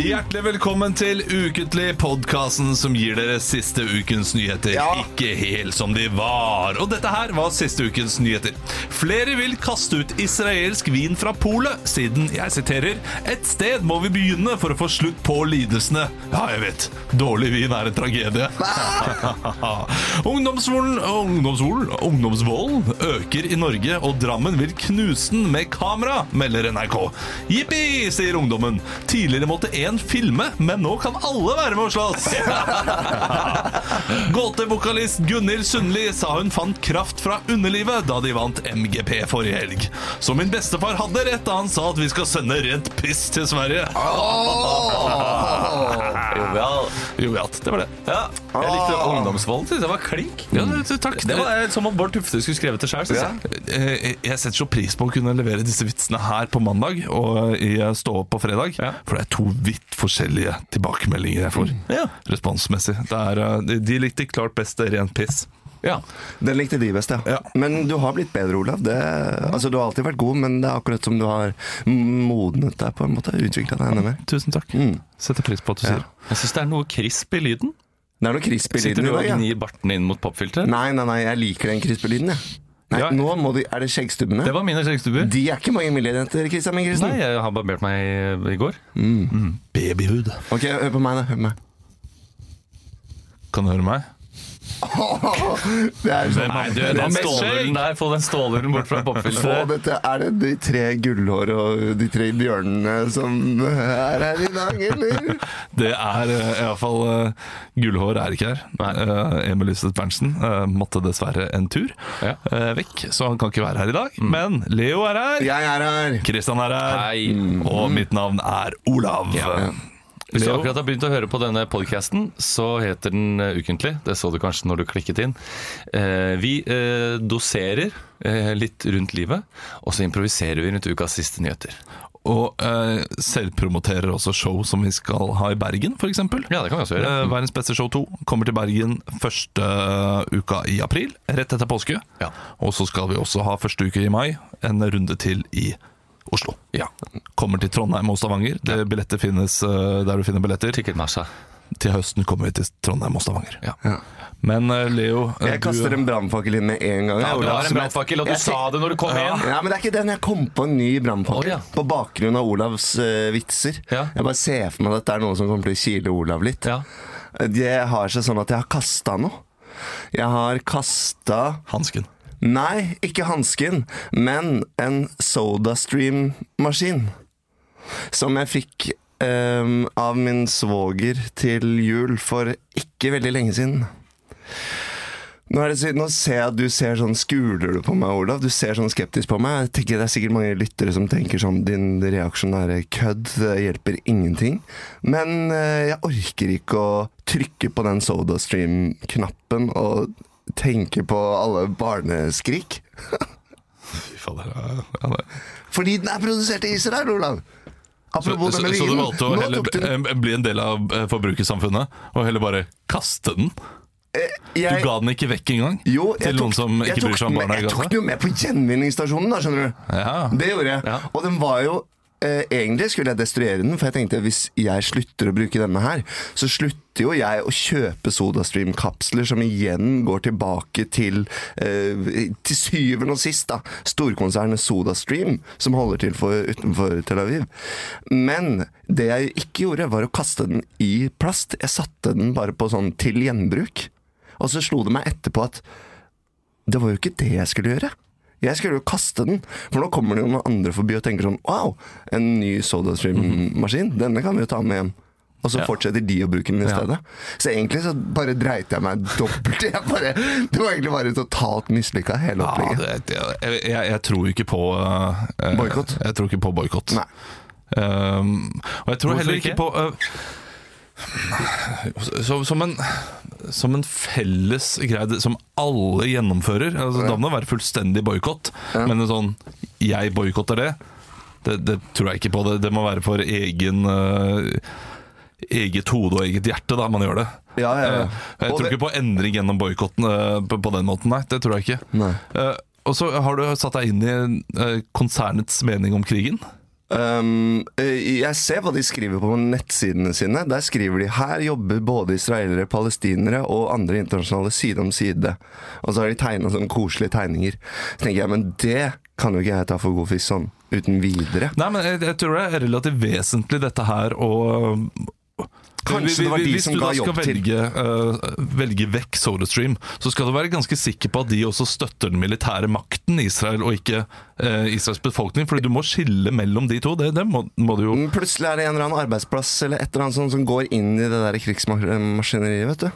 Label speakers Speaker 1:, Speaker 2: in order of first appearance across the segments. Speaker 1: Hjertelig velkommen til Ukentlig, podkasten som gir dere siste ukens nyheter. Ikke helt som de var. Og dette her var siste ukens nyheter. Flere vil kaste ut israelsk vin fra polet, siden, jeg siterer, et sted må vi begynne for å få slutt på lidelsene. Ja, jeg vet. Dårlig vin er en tragedie. Ungdomsvolen, ungdomsvolen, ungdomsvolden øker i Norge, og Drammen vil knuse den med kamera, melder NRK. Jippi, sier ungdommen. Tidligere måtte én filme, men nå kan alle være med og slåss. Gåtevokalist Gunhild Sundli sa hun fant kraft fra underlivet da de vant MGP forrige helg. Så min bestefar hadde rett da han sa at vi skal sende rent piss til Sverige.
Speaker 2: Ah, Jovial.
Speaker 1: Jo, ja, det var det.
Speaker 2: Ja. Ah. Jeg likte ungdomsvolden. synes Jeg var klink.
Speaker 1: Ja, takk.
Speaker 2: Det var eh, som om Bård Tufte skulle skrevet det sjøl.
Speaker 1: Ja. Eh, Jeg setter så pris på å kunne levere disse vitsene her på mandag og i eh, Stå opp på fredag.
Speaker 2: Ja. Mm.
Speaker 1: For det er to vidt forskjellige tilbakemeldinger jeg får.
Speaker 2: Ja.
Speaker 1: Responsmessig. Det er, eh, de- de likte klart best rent piss.
Speaker 2: Ja.
Speaker 3: Den likte de best, ja.
Speaker 1: Ja.
Speaker 3: Men du har blitt bedre, Olav. Det, altså, du har alltid vært god, men det er akkurat som du har modnet deg på en måte. Utvikla deg enda mer.
Speaker 1: Tusen takk. Setter pris på at du
Speaker 3: Ja.
Speaker 1: sier
Speaker 2: Mm. Jeg syns det er noe crisp i lyden.
Speaker 3: Det er noe crisp i
Speaker 2: Sitter
Speaker 3: lyden
Speaker 2: du
Speaker 3: i
Speaker 2: og
Speaker 3: dag, ja.
Speaker 2: gnir barten inn mot popfilteret?
Speaker 3: Nei, nei, nei, jeg liker den crisp i lyden, jeg. Nei,
Speaker 2: Ja.
Speaker 3: nå må de, er det skjeggstubbene?
Speaker 2: Det var mine skjeggstubber.
Speaker 3: De er ikke mange millimeter, Kristian Mikkelsen.
Speaker 2: Nei, jeg har barbert meg i- i går.
Speaker 1: Babyhood.
Speaker 3: Ok, hør på meg, da. Hør på meg.
Speaker 1: Kan du høre meg?
Speaker 3: Det er sånn.
Speaker 2: Nei, du, den
Speaker 3: mest
Speaker 2: stålhulen der, få den stålhulen bort fra
Speaker 3: Få
Speaker 2: popfilteret.
Speaker 3: dette, er det de tre gullhår og de tre bjørnene som er her i dag, eller?
Speaker 1: Det er eh, iallfall Gullhår er ikke her. Eh, Emil Lyseth Berntsen eh, måtte dessverre en tur
Speaker 2: Ja. Mm.
Speaker 1: eh, vekk, så han kan ikke være her i dag. Men Leo er her.
Speaker 3: Jeg er her!
Speaker 1: Kristian er her.
Speaker 2: Hei.
Speaker 1: Og mitt navn er Olav.
Speaker 2: Hvis du
Speaker 1: Leo?
Speaker 2: akkurat har begynt å høre på denne podcasten, så heter den eh, Ukentlig. Det så du kanskje når du klikket inn. Eh, Vi eh, doserer eh, litt rundt livet, og så improviserer vi rundt ukas siste nyheter.
Speaker 1: Og eh, selvpromoterer også show som vi skal ha i Bergen, f.eks.
Speaker 2: Ja, det kan vi også gjøre.
Speaker 1: Verdens beste show 2 kommer til Bergen første eh, uka i april, rett etter påske.
Speaker 2: Ja.
Speaker 1: Og så skal vi også ha første uke i mai, en runde til i Oslo.
Speaker 2: Ja.
Speaker 1: Kommer til Trondheim og Stavanger. Det billetter finnes eh, der du finner billetter. Til,
Speaker 2: Ticketmasha.
Speaker 1: høsten kommer vi til Trondheim og Stavanger.
Speaker 2: Ja.
Speaker 1: Men eh, Leo eh,
Speaker 3: Jeg kaster en brannfakkel inn med en gang. jeg,
Speaker 2: Ja, du
Speaker 3: Olav,
Speaker 2: har en
Speaker 3: som jeg-
Speaker 2: brannfakkel, og du
Speaker 3: jeg
Speaker 2: sa det når du kom
Speaker 3: Ja.
Speaker 2: inn.
Speaker 3: ja, men det er ikke den. Jeg kom på en ny brannfakkel.
Speaker 2: Å, ja.
Speaker 3: På bakgrunn av Olavs eh, vitser.
Speaker 2: Ja.
Speaker 3: Jeg bare ser for meg at det er noe som kommer til å kile Olav litt.
Speaker 2: Ja.
Speaker 3: Det har seg sånn at jeg har kasta noe. Jeg har kasta
Speaker 1: Hansken.
Speaker 3: Nei, ikke hansken, men en SodaStream-maskin. Som jeg fikk ehm, av min svoger til jul for ikke veldig lenge siden. Nå, er det, så- nå ser jeg at du ser sånn Skuler du på meg, Olav? Du ser sånn skeptisk på meg. Jeg tenker Det er sikkert mange lyttere som tenker sånn Din reaksjonære kødd, det hjelper ingenting. Men eh, jeg orker ikke å trykke på den SodaStream-knappen og tenke på alle barneskrik.
Speaker 1: Fy fader. ja, Ja, det.
Speaker 3: Fordi den er produsert i Israel, Olav!
Speaker 1: Så,
Speaker 3: Apropos
Speaker 1: så,
Speaker 3: denne
Speaker 1: så du
Speaker 3: vinen.
Speaker 1: valgte å
Speaker 3: Nå
Speaker 1: heller
Speaker 3: tok du den.
Speaker 1: eh, bli en del av eh, forbrukersamfunnet og heller bare kaste den? Du
Speaker 3: Jeg-
Speaker 1: ga den ikke vekk engang?
Speaker 3: jo, jeg
Speaker 1: til
Speaker 3: tok-
Speaker 1: noen som
Speaker 3: jeg
Speaker 1: ikke
Speaker 3: tok
Speaker 1: bryr seg om
Speaker 3: den med-
Speaker 1: barna i
Speaker 3: Jeg tok
Speaker 1: gata?
Speaker 3: den jo med på gjenvinningsstasjonen, da, skjønner du.
Speaker 1: Ja.
Speaker 3: Det gjorde jeg.
Speaker 2: Ja.
Speaker 3: Og den var jo eh, Egentlig skulle jeg destruere den, for jeg tenkte hvis jeg slutter å bruke denne her, så slutter jo jeg å kjøpe SodaStream-kapsler, som igjen går tilbake til eh, Til syvende og sist, da. Storkonsernet SodaStream, som holder til for, utenfor Tel Aviv. Men det jeg ikke gjorde, var å kaste den i plast. Jeg satte den bare på sånn til gjenbruk. Og så slo det meg etterpå at det var jo ikke det jeg skulle gjøre. Jeg skulle jo kaste den, for nå kommer det jo noen andre forbi og tenker sånn Wow, en ny SodaStream-maskin. Denne kan vi jo ta med hjem. Og så fortsetter de å bruke den i stedet. Så egentlig så bare dreit jeg meg dobbelt. Jeg bare, det var egentlig bare totalt mislykka, hele
Speaker 1: Ja,
Speaker 3: opplegget.
Speaker 1: det, det, jeg, jeg, jeg tror ikke på eh,
Speaker 3: Boikott?
Speaker 1: Jeg tror ikke på boikott.
Speaker 3: Nei.
Speaker 1: Um, og jeg tror
Speaker 2: Hvorfor
Speaker 1: heller ikke,
Speaker 2: ikke?
Speaker 1: på eh, så, som, en, som en felles greie det- som alle gjennomfører. Altså, Da må det være fullstendig boikott, men en sånn 'jeg boikotter det', det, det tror jeg ikke på. Det, det må være for egen eh, Eget hode og eget hjerte, da man gjør det.
Speaker 3: Ja, ja, ja.
Speaker 1: Eh, Jeg
Speaker 3: Og
Speaker 1: tror
Speaker 3: det-
Speaker 1: ikke på endring gjennom boikotten eh, på, på den måten, nei. Det tror jeg ikke.
Speaker 3: Nei.
Speaker 1: Eh, og så har du satt deg inn i eh, konsernets mening om krigen.
Speaker 3: Um, eh, jeg ser hva de skriver på nettsidene sine. Der skriver de her jobber både israelere, palestinere og andre internasjonale side om side. Og så har de tegna sånne koselige tegninger. Så tenker jeg, men det kan jo ikke jeg ta for god fisk sånn uten videre.
Speaker 1: Nei, men jeg, jeg tror det er relativt vesentlig dette her å
Speaker 3: Kanskje det var de som ga jobb
Speaker 1: Hvis du da skal velge, eh, velge vekk SodaStream, så skal du være ganske sikker på at de også støtter den militære makten i Israel, og ikke eh, Israels befolkning. Fordi du må skille mellom de to. Det, det må, må du jo
Speaker 3: Men plutselig er det en eller annen arbeidsplass eller et eller annet sånt som går inn i det der krigsmaskineriet, vet du.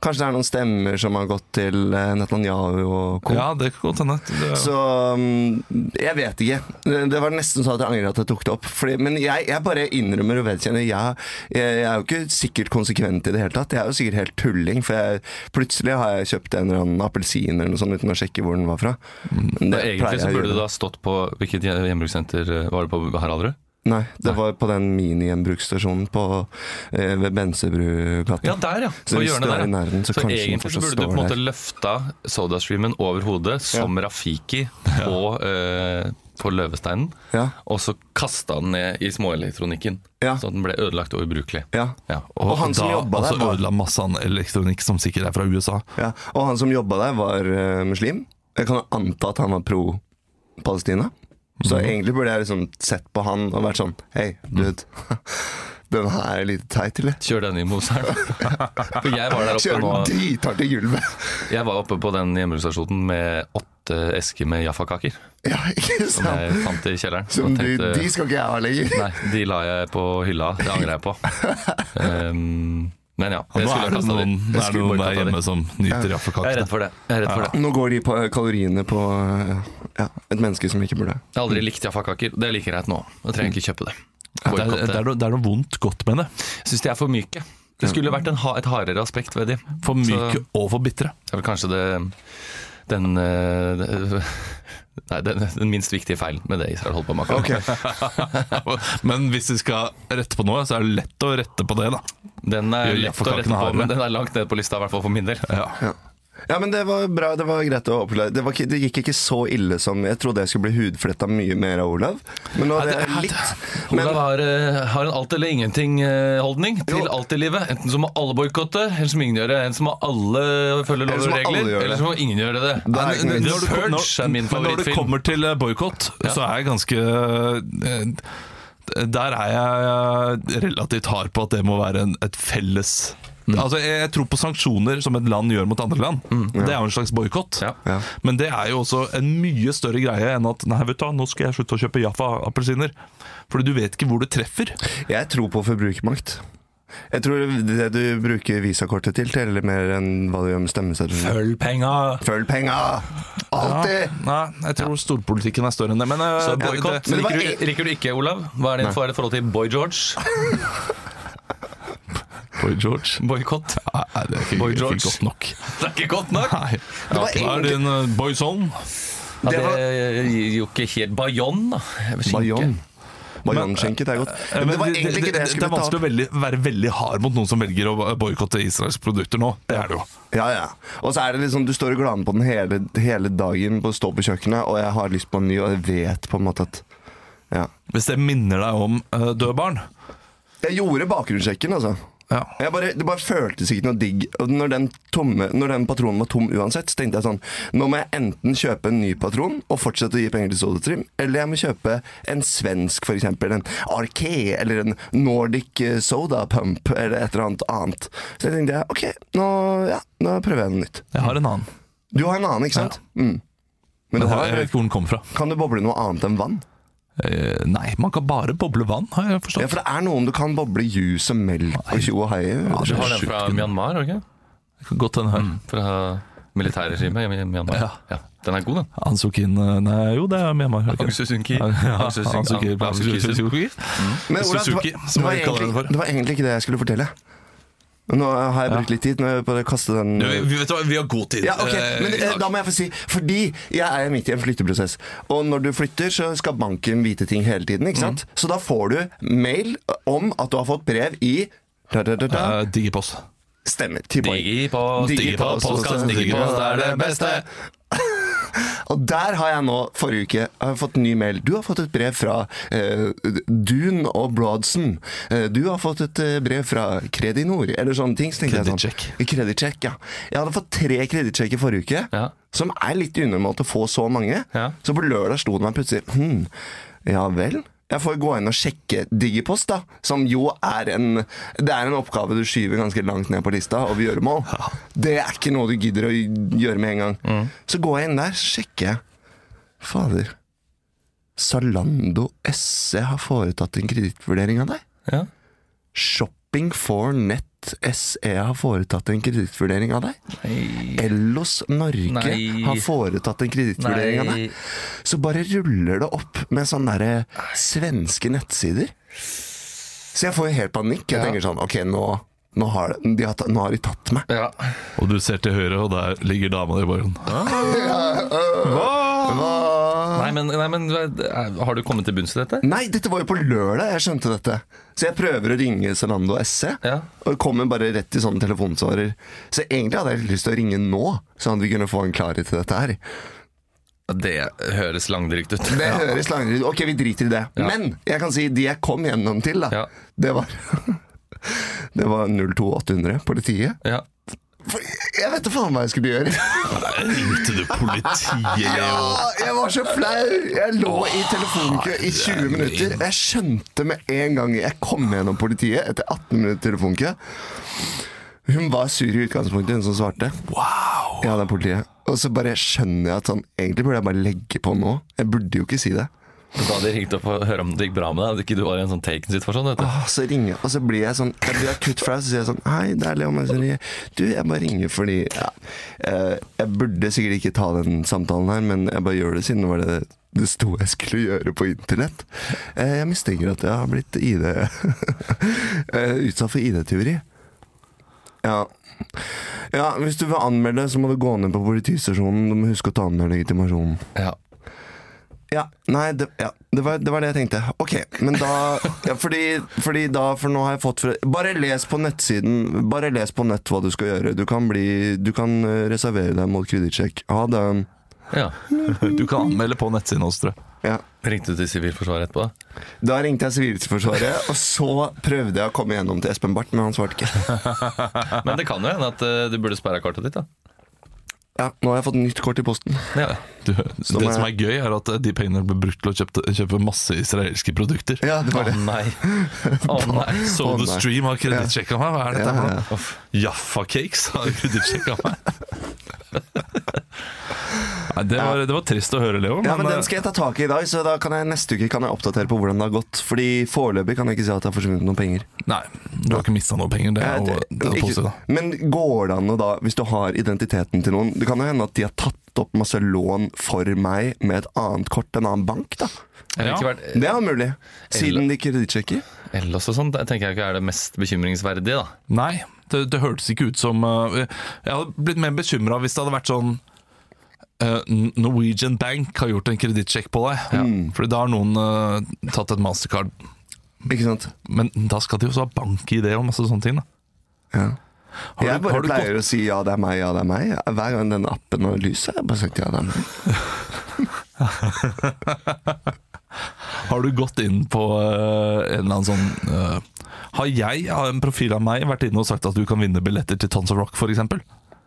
Speaker 3: Kanskje det er noen stemmer som har gått til eh, Netanyahu og co.
Speaker 1: Ja, det kan godt hende. Det-
Speaker 3: Så um, jeg vet ikke. Det det var nesten sånn at jeg angrer at jeg tok det opp. Fordi, men jeg, jeg bare innrømmer og vedkjenner. Jeg, jeg, jeg er jo ikke sikkert konsekvent i det hele tatt. Jeg er jo sikkert helt tulling, for jeg, plutselig har jeg kjøpt en eller annen appelsin eller noe sånt uten å sjekke hvor den var fra. Men
Speaker 2: Men Mm. egentlig så
Speaker 3: å
Speaker 2: burde det
Speaker 3: gjøre.
Speaker 2: da stått på Hvilket hjem- hjembrukssenter eh, var det på Haraldrud?
Speaker 3: Nei, det var på den mini-gjenbruksstasjonen på, eh, ved Bensebrugata.
Speaker 2: Ja, der, ja.
Speaker 3: Så
Speaker 2: På
Speaker 3: hvis
Speaker 2: hjørnet
Speaker 3: du er
Speaker 2: der.
Speaker 3: i
Speaker 2: ja.
Speaker 3: nærheten, så
Speaker 2: så
Speaker 3: kanskje den
Speaker 2: egentlig så
Speaker 3: fortsatt
Speaker 2: burde du på en
Speaker 3: står
Speaker 2: måte løfta SodaStreamen over hodet, som Rafiki på, eh, på løvesteinen,
Speaker 3: Ja.
Speaker 2: og så kasta den ned i småelektronikken.
Speaker 3: Ja.
Speaker 2: Så den ble ødelagt og ubrukelig.
Speaker 3: Ja.
Speaker 2: Ja.
Speaker 3: Og han som jobba der
Speaker 1: altså,
Speaker 3: var-
Speaker 1: ødela masse annen elektronikk som sikkert er fra USA.
Speaker 3: Ja, og han som jobba der, var eh, muslim. Jeg kan jo anta at han var pro-Palestina. Så egentlig burde jeg liksom sett på han og vært sånn Hei, dude. Den her er litt teit, eller?
Speaker 2: Kjør den i moseren. For jeg var der oppe
Speaker 3: Kjører
Speaker 2: nå
Speaker 3: den drithardt i gulvet!
Speaker 2: Jeg var oppe på den hjembruksstasjonen med åtte esker med jaffakaker
Speaker 3: Ja, ikke
Speaker 2: som jeg
Speaker 3: sant?
Speaker 2: fant i kjelleren.
Speaker 3: Som
Speaker 2: og
Speaker 3: de,
Speaker 2: tenkte-
Speaker 3: de skal ikke jeg ha lenger.
Speaker 2: Nei, de la jeg på hylla. Det angrer jeg på. Ehm, men ja. Jeg
Speaker 1: Nå er
Speaker 2: skulle
Speaker 1: det
Speaker 2: kasta de.
Speaker 1: noen,
Speaker 2: Jeg
Speaker 1: det er
Speaker 2: skulle
Speaker 1: noen
Speaker 2: boykotta
Speaker 1: der
Speaker 2: de.
Speaker 1: hjemme som nyter
Speaker 2: Jeg er
Speaker 1: jaffekake.
Speaker 2: redd for det. Jeg er redd for det.
Speaker 3: Nå går de på eh, kaloriene på eh, ja, et menneske som ikke burde.
Speaker 2: Jeg har aldri likt jaffakaker. Det er like greit nå. Jeg trenger ikke kjøpe det.
Speaker 1: Ja, Det er, det, er noe, det er noe vondt godt med det.
Speaker 2: Jeg syns de er for myke. Det skulle vært en, ha- et hardere aspekt ved de. Det
Speaker 1: For myke
Speaker 2: Så-
Speaker 1: og for bitre.
Speaker 2: er vel kanskje det den eh, det- Nei, den, den minst viktige feilen med det Israel holdt på med akkurat. nå.
Speaker 1: Men hvis vi skal rette på noe, så er det lett å rette på det, da.
Speaker 2: Den er
Speaker 1: Gjør
Speaker 2: lett å rette
Speaker 1: jaffekakene
Speaker 2: på,
Speaker 1: hardere.
Speaker 2: men den er langt ned på lista, i hvert fall for min del.
Speaker 3: Ja, men det var bra. Det var greit å oppklare. Det, var ikke, det gikk ikke så ille som Jeg trodde jeg skulle bli hudfletta mye mer av Olav, men nå
Speaker 2: Nei,
Speaker 3: er
Speaker 2: det-
Speaker 3: det litt. Men-
Speaker 2: Olav har, eh, har en alt eller ingenting-holdning til
Speaker 3: Jo.
Speaker 2: alt i livet. Enten så må alle boikotte, eller så må ingen gjøre det. Enten så må alle følge lov
Speaker 3: Eller så
Speaker 2: og
Speaker 3: må alle
Speaker 2: regler,
Speaker 3: gjøre det.
Speaker 2: eller så må ingen gjøre det.
Speaker 3: er ikke noe
Speaker 2: The
Speaker 3: vits.
Speaker 1: Når du-
Speaker 2: Purge
Speaker 1: når-
Speaker 2: er min
Speaker 1: men Når det
Speaker 2: favorittfilm.
Speaker 1: kommer til eh, boikott, så er jeg ganske eh, Der er jeg relativt hard på at det må være en, et felles
Speaker 2: Mm.
Speaker 1: Altså, jeg jeg tror på sanksjoner som et land gjør mot andre land. Det er jo en slags boikott.
Speaker 2: Ja.
Speaker 3: Ja.
Speaker 1: Men det er jo også en mye større greie enn at Nei, vet du hva, nå skal jeg slutte å kjøpe Jaffa-appelsiner. Fordi du vet ikke hvor du treffer.
Speaker 3: Jeg tror på forbrukermakt. Jeg tror det du bruker visakortet til, teller mer enn hva du gjør med stemmeseddelen.
Speaker 1: Følg penga!
Speaker 3: Følg penga! Alltid!
Speaker 1: Ah, Nei, jeg tror storpolitikken er større enn det. Men eh,
Speaker 2: Så
Speaker 1: det-
Speaker 2: boikott
Speaker 1: det-
Speaker 3: Men det var
Speaker 2: liker, du- liker du ikke, Olav. Hva er din hva er ditt forhold til Boy George?
Speaker 1: Boy George.
Speaker 2: Boikott?
Speaker 1: Nei, det er ikke,
Speaker 2: Boy
Speaker 1: ikke
Speaker 2: George.
Speaker 1: godt nok.
Speaker 2: Det er ikke godt nok!
Speaker 1: Nei.
Speaker 3: var
Speaker 1: Ok. Er
Speaker 3: egentlig-
Speaker 1: det en eh, boyzone?
Speaker 2: Ja,
Speaker 3: Det var-
Speaker 2: det gir jo ikke helt Bayon, da. Skinke.
Speaker 3: Bayon. Bayonskjenket er godt.
Speaker 1: Eh,
Speaker 3: Men det var
Speaker 1: men
Speaker 3: egentlig ikke det jeg
Speaker 1: det er
Speaker 3: skulle ta
Speaker 1: vanskelig å
Speaker 3: opp.
Speaker 1: veldig, være veldig hard mot noen som velger å boikotte Israels produkter nå. Det er det jo.
Speaker 3: Ja, ja. Og så er det liksom, du står og glaner på den hele, hele dagen på å stå på kjøkkenet, og jeg har lyst på en ny, og jeg vet på en måte at ja.
Speaker 1: Hvis det minner deg om eh, døde barn.
Speaker 3: Jeg gjorde bakgrunnssjekken, altså.
Speaker 1: Ja.
Speaker 3: Jeg bare, det bare føltes ikke noe digg. Og når den, tomme, når den patronen var tom uansett, så tenkte jeg sånn Nå må jeg enten kjøpe en ny patron og fortsette å gi penger til Sodatrim, eller jeg må kjøpe en svensk, f.eks. En Arke eller en Nordic eh, Soda Pump eller et eller annet annet. Så jeg tenkte OK, nå, ja, nå prøver jeg noe nytt.
Speaker 1: Jeg har en annen.
Speaker 3: Du har en annen, ikke sant? Mm. Men du
Speaker 2: Men jeg
Speaker 3: har,
Speaker 2: vet ikke hvor den kommer fra.
Speaker 3: kan du boble noe annet enn vann?
Speaker 2: Eh, Nei, man kan bare boble vann, har jeg
Speaker 3: Ja,
Speaker 2: forstått.
Speaker 3: for det er noen du kan boble juice og melk og tjo og hei.
Speaker 2: Du har den fra Myanmar, har du ikke?
Speaker 1: Godt den her.
Speaker 2: Fra militærregimet i Myanmar.
Speaker 1: Ja.
Speaker 2: Den er god, den.
Speaker 1: Aung Suu Kyi uh, Nei, jo, det er Myanmar. er det ikke?
Speaker 2: Aung Suu Kyi.
Speaker 1: Ja,
Speaker 2: Aung Suu Kyi.
Speaker 1: Aung Suu Kyi.
Speaker 2: Aung Suu Kyi.
Speaker 1: Aung Suu Kyi.
Speaker 3: Men Olav, det, var,
Speaker 1: Suzuki,
Speaker 3: det,
Speaker 1: som
Speaker 3: var
Speaker 1: vi kaller den
Speaker 3: egentlig,
Speaker 1: for.
Speaker 3: det var egentlig ikke det jeg skulle fortelle. Nå har jeg brukt litt tid. Nå er jeg bare kaste den
Speaker 1: Du, vi, vi vet hva, vi har god tid.
Speaker 3: Ja, ok,
Speaker 1: eh,
Speaker 3: men
Speaker 1: i
Speaker 3: eh,
Speaker 1: dag.
Speaker 3: da må jeg få si Fordi jeg er midt i en flytteprosess Og når du flytter så skal banken vite ting hele tiden Ikke sant?
Speaker 1: Mm.
Speaker 3: Så da får du mail om at du har fått brev i da, da, da, da.
Speaker 1: Eh, Digipost.
Speaker 3: Stemmer, 10 poeng
Speaker 2: Digipost,
Speaker 3: Digipost,
Speaker 2: postkassen, digipost er det beste.
Speaker 3: Og der har jeg nå, forrige uke har jeg fått ny mail Du har fått et brev fra eh, Dun og Broadson Eh, Du har fått et eh, brev fra Kredinor Eller sånne ting så tenkte jeg
Speaker 1: Kreditsjekk.
Speaker 3: sånn, Kreditsjekk, ja Jeg hadde fått tre kreditsjekk i forrige uke
Speaker 2: Ja.
Speaker 3: som er litt unormalt å få så mange.
Speaker 2: Ja.
Speaker 3: Så på lørdag slo det meg plutselig hm, Ja vel? Jeg får gå inn og sjekke Digipost, da. Som jo er en Det er en oppgave du skyver ganske langt ned på lista over gjøremål. Det er ikke noe du gidder å gjøre med en gang. Så går jeg inn der, så sjekker jeg. Fader. Salando SE har foretatt en kredittvurdering av deg.
Speaker 2: Ja.
Speaker 3: Shopping for Nett SE har foretatt en kredittvurdering av deg. Ellos Norge
Speaker 2: Nei.
Speaker 3: har foretatt en kredittvurdering av deg. Så bare ruller det opp med sånne der svenske nettsider. Så jeg får jo helt panikk. Jeg tenker sånn Ok, nå, nå, har, de- de har, ta- nå har de tatt meg.
Speaker 2: Ja.
Speaker 1: Og du ser til høyre, og der ligger dama di i borgen.
Speaker 2: Nei, men, nei, men eh, har du kommet til bunns i dette?
Speaker 3: Nei, dette var jo på lørdag jeg skjønte dette. Så jeg prøver å ringe Zalando SE,
Speaker 2: Ja.
Speaker 3: og kommer bare rett til sånne telefonsvarer. Så egentlig hadde jeg lyst til å ringe nå, sånn at vi kunne få en klarhet i dette her.
Speaker 2: Det høres langdrygt ut.
Speaker 3: Det høres langere ut. Ok, vi driter i det. Men jeg kan si de jeg kom gjennom til, da,
Speaker 2: Ja.
Speaker 3: det var Det var 02800, politiet.
Speaker 2: Ja.
Speaker 3: For jeg vet da faen hva jeg skulle gjøre.
Speaker 1: Ringte du politiet?
Speaker 3: Ja, jeg var så flau! Jeg lå i telefonkø i 20 minutter. Jeg skjønte med en gang jeg kom gjennom politiet etter 18 minutter telefonkø. Hun var sur i utgangspunktet, hun som svarte.
Speaker 1: Wow!
Speaker 3: Ja, det er politiet. Og så bare skjønner jeg at sånn, egentlig burde jeg bare legge på nå. Jeg burde jo ikke si det.
Speaker 2: Da hadde de ringt opp og hørt om det gikk bra med deg. At ikke du var i en sånn taken-situasjon. vet du.
Speaker 3: Åh, så ringer jeg, og så blir jeg sånn Jeg blir akutt flau, så sier jeg sånn Hei, det er Leon Meisner. Du, jeg bare ringer fordi ja, eh, Jeg burde sikkert ikke ta den samtalen her, men jeg bare gjør det siden det var det det sto jeg skulle gjøre på internett. Eh, jeg mistenker at jeg har blitt ID eh, utsatt for ID-tyveri. Ja. ja, hvis du vil anmelde, så må du gå ned på politistasjonen. Du må huske å ta med deg legitimasjonen.
Speaker 2: Ja.
Speaker 3: Ja, nei, det, ja, det, var, det var det jeg tenkte. Ok, men da ja, fordi, fordi da, for nå har jeg fått fra, Bare les på nettsiden Bare les på nett hva du skal gjøre. Du kan, bli, du kan eh, reservere deg mot kredittsjekk. Ha det.
Speaker 2: ja.
Speaker 1: Du kan anmelde på nettsiden også, tror jeg.
Speaker 3: Ja.
Speaker 2: Ringte du til Sivilforsvaret etterpå? da?
Speaker 3: Da ringte jeg Sivilforsvaret, og så prøvde jeg å komme gjennom til Espen Barth, men han svarte ikke.
Speaker 2: Men det kan jo hende at eh, du burde sperra kartet ditt, da.
Speaker 3: Ja, nå har jeg fått nytt kort i posten.
Speaker 2: Ja.
Speaker 1: Du, det
Speaker 3: må jeg-
Speaker 1: som er gøy, er at eh, de pengene ble brukt til å kjøpe, kjøpe masse israelske produkter.
Speaker 3: Ja, det
Speaker 2: Å
Speaker 3: var det.
Speaker 2: nei. Å nei. Så
Speaker 3: Å,
Speaker 1: Soda
Speaker 3: nei.
Speaker 1: Stream har kredittsjekka meg. Hva er dette
Speaker 3: Ja,
Speaker 1: for
Speaker 3: ja.
Speaker 1: noe? Uff. Jaffa Cakes har kredittsjekka meg. Nei, det, var, det var trist å høre, Leo.
Speaker 3: Ja, men
Speaker 1: men, eh,
Speaker 3: Den skal jeg ta tak i i dag, så da kan jeg neste uke kan jeg oppdatere på hvordan det har gått. Fordi foreløpig kan jeg ikke si at det har forsvunnet noen penger.
Speaker 1: Nei, du har ikke mista noe penger. Det er jo det er
Speaker 3: Ikke-
Speaker 1: positivt. da.
Speaker 3: Men går det an å da, hvis du har identiteten til noen Det kan jo hende at de har tatt opp masse lån for meg med et annet kort, en annen bank, da.
Speaker 2: Jeg vil
Speaker 1: Ja.
Speaker 2: ikke vært,
Speaker 3: Det er jo mulig. Siden de kredittsjekker.
Speaker 2: Ellers og sånn, det tenker jeg ikke er det mest bekymringsverdige, da.
Speaker 1: Nei, det, det hørtes ikke ut som eh, Jeg hadde blitt mer bekymra hvis det hadde vært sånn eh, Norwegian Bank har gjort en kredittsjekk på deg. Fordi da har noen eh, tatt et mastercard.
Speaker 3: Ikke sant?
Speaker 1: Men da skal de også ha bank-ID og masse altså sånne ting. da
Speaker 3: Ja.
Speaker 1: du-
Speaker 3: Jeg bare
Speaker 1: har du
Speaker 3: pleier å si ja, det er meg, ja, det er meg. Hver gang den appen har lys, har jeg bare sagt ja, det er meg.
Speaker 1: Har du gått inn på eh, en eller annen sånn eh, Har jeg, av en profil av meg, vært inne og sagt at du kan vinne billetter til Tons of Rock, f.eks.? For